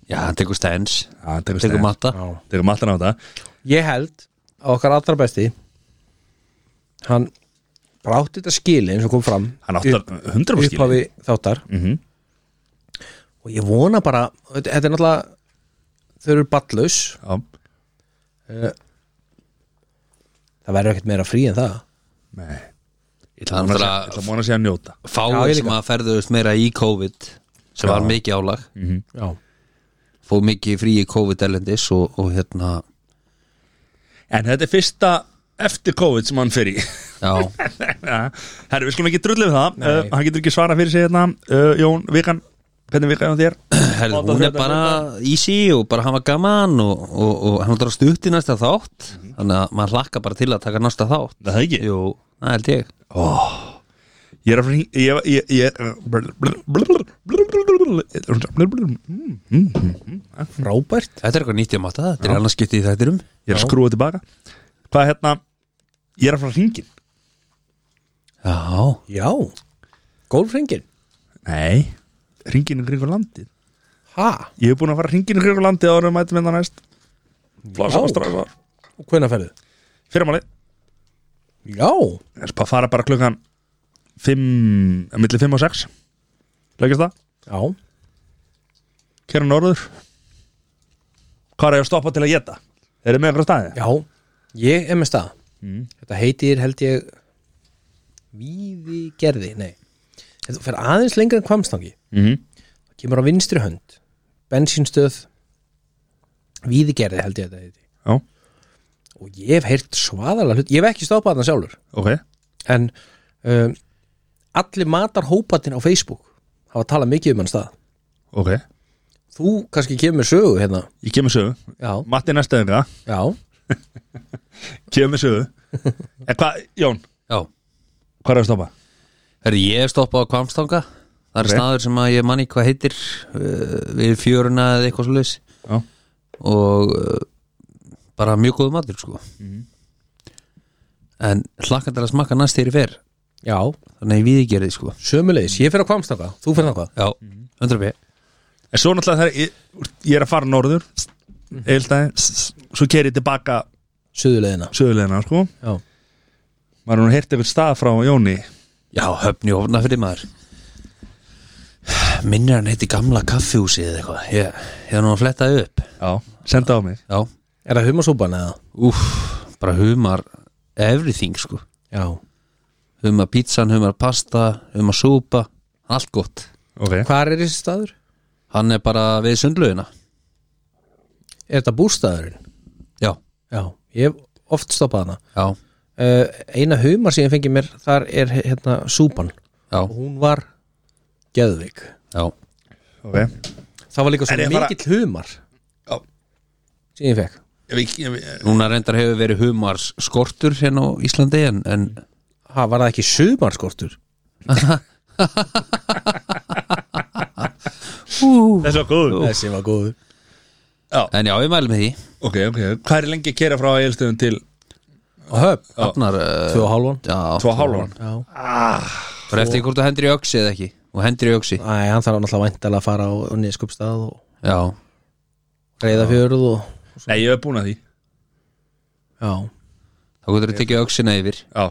Já, hann tekur stens, Já, hann tekur tekur stefn. matta já Tekur matan á þetta Ég held að okkar allra besti hann brátti þetta skili eins og kom fram Hann átti upp- að hundra fyrir skilja upphafi þáttar Mhm. og ég vona bara þetta þetta er náttúrulega þau eru ballaus Já, það verður ekkert meira frí en það nei Ég Hann ætla að þarf vona að- að- ætla að vona að sé að njóta Já, Fáir ég sem líka. að ferðuðust meira í COVID sem var mikið álag Já, fóð mikið frí í COVID erlendis og, og hérna En þetta er fyrsta eftir COVID sem hann fer í Já, Herru, við skulum ekki drullið við það uh, Hann getur ekki svara fyrir sig hérna uh, Jón, vikan, hvernig vikan á þér? herðu, hún er bara easy og bara hafa gaman og, og, og hann er að stutt í næsta þátt þannig að maður hlakka bara til að taka næsta þátt Það er ekki Jú, það held ég Ég er að fyrir Ég ég- ég- ég frábært Þetta er eitthvað nýtt ég matta, þetta er annars getið í þættirum Ég er að skrúa tilbaka Hvað er hérna? Ég er að fara hringin Já, Já, golfringin Nei, hringin í kringur landið Hæ? Ég hef búin að fara hringin í kringur landið ára um mætum enda næst Flasa ástræðar Og hvenær ferðu? Fyrirmáli Já Þess að fara bara klukkan 5, milli 5 og 6 Leggjast það, Já, kæra norður Hvað er ég að stoppa til að geta? Eru með einhverja staði? Já, ég er með stað Mhm. Þetta heitir held ég Víðigerði, nei Þetta fer aðeins lengra en kvamstangi Mhm. Það kemur á vinstri hönd Bensínstöð Víðigerði held ég þetta heiti Já, Og ég hef heyrt svaðalega hlut Ég hef ekki stoppað þarna sjálfur ok En um, allir matar hópatinn á Facebook hafa talað mikið um hann stað Ok, Þú kannski kemur með sögu hérna ég kemur sögu Já, Matti næsta yngra, já kemur sögu En hvað, Jón, Já, hvað er að stoppa? herri ég er stoppað á Kvamstanga Það er Ok. staður sem að ég manni hvað heitir uh, Við fjöruna eða eitthvað svo leys Já. Og uh, bara mjög góðu matur sko Mhm. En hlakkan til að smakka næst þegar ég fer Já, Þannig að ég við gerði sko sömulegis, ég fer á kvamstanga, þú fer þangað Já, Mhm. 100p En svo náttúrulega það er, ég, ég er að fara norður Eildæði, svo keri ég tilbaka Suðulegina sögulegina, sko Já, Maður hún heyrti eitthvað stað frá Jóni Já, höfn í ofna fyrir maður Minnir hann heiti gamla kaffihúsi eða eitthvað Ég, ég er nú að fletta því upp Já Senda á mig Já, er það humasúpan eða? úf, bara humar everything sko Já, Humar um pítsan, humar pasta, humar súpa Allt gott Ok, hvar er þessi staður? Hann er bara við sundlaugina Er þetta bústaðurinn? Já, Já, ég hef oft stoppað hana já, uh, Eina humar sem ég fengi mér þar er hérna súpan já, og hún var geðvik já ok Það var líka En svo ég fara- mikill humar Já. sem ég fekk Núna reyndar hefur verið humars skortur hérna á Íslandi en, en ha, Var það ekki sumarskortur? Þessi var góð Þessi var góður En já, ég mæli með því Ok, ok, hvað er lengi að kera frá Eilstöðum til Og höf, Hafnar, uh, tvö og hálfan já, Tvo hálfan Já, Bara eftir hvort þú hendur í öxi eða ekki Og hendur í öxi, Æ, hann þarf náttúrulega væntalega að fara á, á nýskupstað og já reyða fjörð og Nei, ég hef búin að því Já, Þá getur þú tekið öxina yfir Já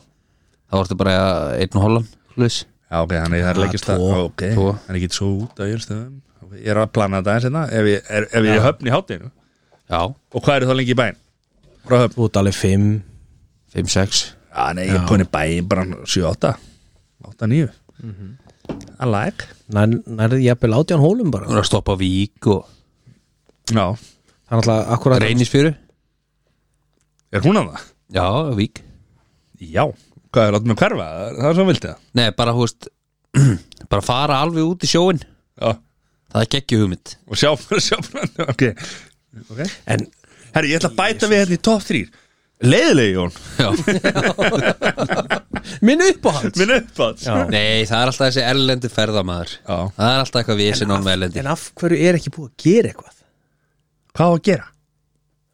Þá ertu bara einn og hálfan Hlus Já, ok, þannig það er Ah, leggist það tvo, Ok, tvo. þannig ég get svo út á Eilstöðum Ég er að plana þetta eins hérna Ef ég er, ef ég er höfn í hátinu Já, Og hvað eru þá lengi í bæn? Frá höfn þú ert alveg fimm 5-6 Já, nei, ég er komin í bæinn bara 7-8 8-9 I like nær, Nærði jafnvel átján hólum bara Þú er að stoppa á vík og Já, Það er náttúrulega akkurat reynisfjöru er hún að það? Já, vík Já Hvað er, láttu mig hverfa? Það er svo vildið Nei, bara, hú veist Bara fara alveg út í sjóin Já, Það er geggju hugmynd og sjá, sjá Ok, ok En Herri, ég ætla að bæta við hérna í top 3 Leiðilegi Jón, Já minn uppáhalds minn uppátt Já, Nei, það er alltaf þessi erlendu ferðamaður Já. Það er alltaf eitthvað vísin án með erlendi En af hverju er ekki búið að gera eitthvað? hvað á að gera?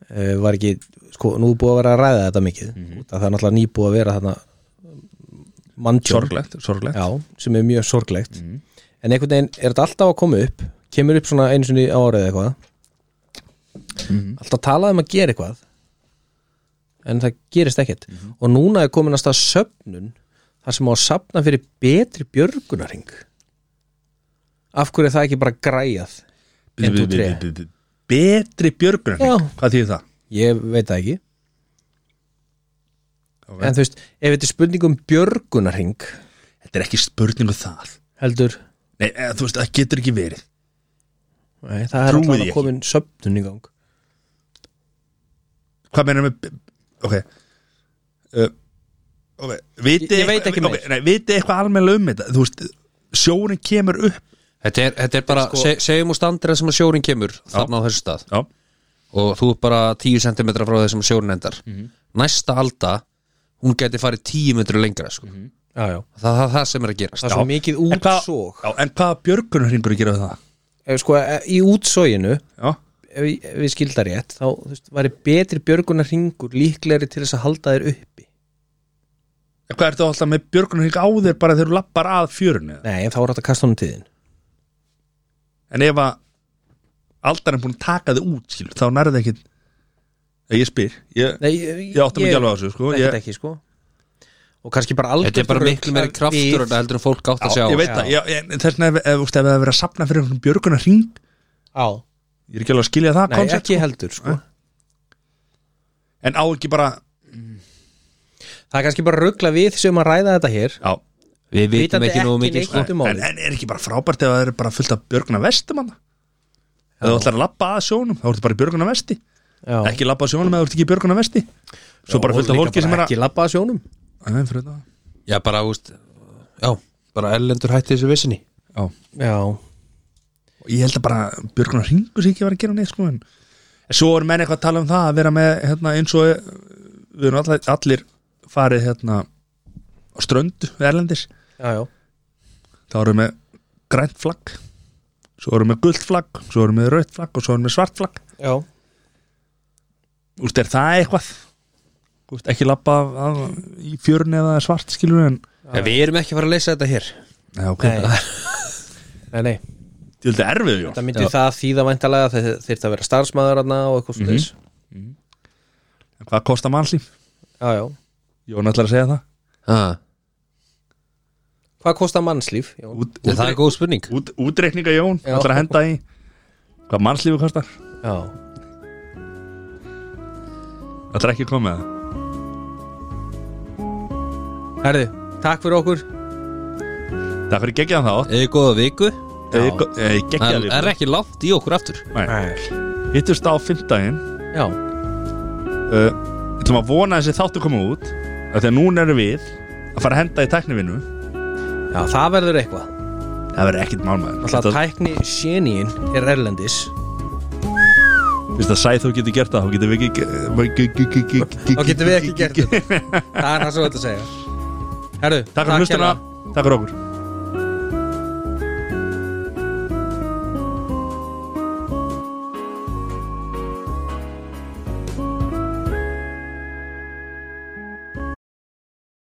Uh, var ekki, sko, nú er búið að vera að ræða þetta mikið mm Mhm. Það er náttúrulega nýbúið að vera þarna manntjón Sorglegt, sorglegt Já, sem er mjög sorglegt Mhm. En einhvern veginn er þetta alltaf að koma upp Kemur upp svona einu sinni á árið eitthvað Mhm. Alltaf talað um að gera eitthvað En það gerist ekkert Mhm. Og núna er komin að stað söfnun þar sem á að safna fyrir betri björgunaring Af hverju er það ekki bara græjað Bíddu, Einn, tvo, bíddu, þrjá. bíddu, bíddu. Betri björgrun Já. Hvað þýðir það? Ég veit það ekki Ok. En þú veist, ef þetta er spurning um björgunaring Þetta er ekki spurning um það Heldur Nei, eða, þú veist, það getur ekki verið Nei, það er Trúi því alltaf ekki. komin söfnun í gang hvað meina með ok uh, ok, viti Ég- ég veit ekki ok, nei, viti eitthvað almennilega um þetta þú veist, sjórin kemur upp Þetta er, þetta er bara, Sko- seg, segjum úr standira sem að sjórin kemur Þarna á þessu stað já, Og þú er bara 10 cm frá þessum sjórin endar Mhm. Næsta alda Hún geti farið 10 metri lengra sko. Já, já það, það, það sem er að Mhm. Það gerast er svo mikið útsóg já, en hvaða björgunarhingur gera það? ef, sko, e- í útsóginu já, ef, ég- ef við skildar rétt þá þú veist, væri betri björgunar ringur líklegri til þess að halda þér uppi en hvað ertu alltaf með björgunarhing á þér bara þegar þú lappar að fjörunni eða? nei, en þá er hægt að kasta honum tíðin en ef að aldar er búin að taka þig út skil, þá nærði ekki Nei, ég spyr, ég, nei, ég, ég átti mig ekki alveg á þessu sko. ég, ég, ekki, sko. og kannski bara algjör Þetta er bara miklu meiri kraftur en það heldur en fólk átt að sjá ég veit það, ég, ég, þess vegna ef, ef, ef, ef það er verið að sapna fyrir einhvern björgunarhing á, ég er ekki alveg að skilja það nei, koncept, ekki sko. heldur sko. en á ekki bara Það er kannski bara ruggla við sem að ræða þetta hér já, Við vitum Vitandi ekki nógu ekki mikið neitt. sko. Skiptir máli. en, en er ekki bara frábært ef það eru bara fullt af björguna vestum hann ef þú ætlar að labba að sjónum þá ertu bara í björguna vesti Já. ekki labba að sjónum ef þú ert ekki í björguna vesti svo bara Og fullt af líka fólki bara sem er að Ekki labba að sjónum Nei, fyrir þetta. Já, bara, úst, já, bara erlendur hætti þessu vissinni já Já, Og ég held að bara Björgunar Ringur sér ekki að vera að gera neitt sko en en svo er menn eitthvað að tala um það að vera með hérna, eins og eh, við erum allir, allir farið hérna á ströndu við Erlendis já, já þá erum við með grænt flagg svo erum við með gult flagg svo erum við með rautt flagg og svo erum við með svart flagg Já, Úst, er það eitthvað? Úst, ekki labba af, af, í fjörun eða svart skilur en ja, Við erum ekki að fara að leysa þetta hér Nei, ok, nei það er Nei, nei, þetta erfið Jón. það myndi það þýða væntalega þeir þyrfti að vera starfsmæður hana og eitthvað mm Mhm. En Hvað kostar mannslíf? Já, já Jón ætlar að segja það ah, Hvað kostar mannslíf? Já, Út, Það er góð spurning Út, útreikninga Jón, Já. ætlar að henda í hvað mannslífi kostar já. ætlar ekki að koma með það Herðu, takk fyrir okkur það fyrir geggjaðan þátt Eða góða viku Eh, go- eh, Það geggjaðan er ekki langt í okkur aftur við hittust á fimmtaginn Já, uh, ætlum að vona að þessi þáttu koma út af því að núna erum við að fara að henda í tæknivinnu já, það verður eitthvað það verður ekkit málmaður Alltaf Þetta- tækni séníin er erlendis fyrst að sæð þú getur gert það þá getum við eh, ekki Þá getum við ekki gert þetta Það er það sem við ætlum að segja hérna. Herru, takk fyrir hlustuna, takk fyrir okkur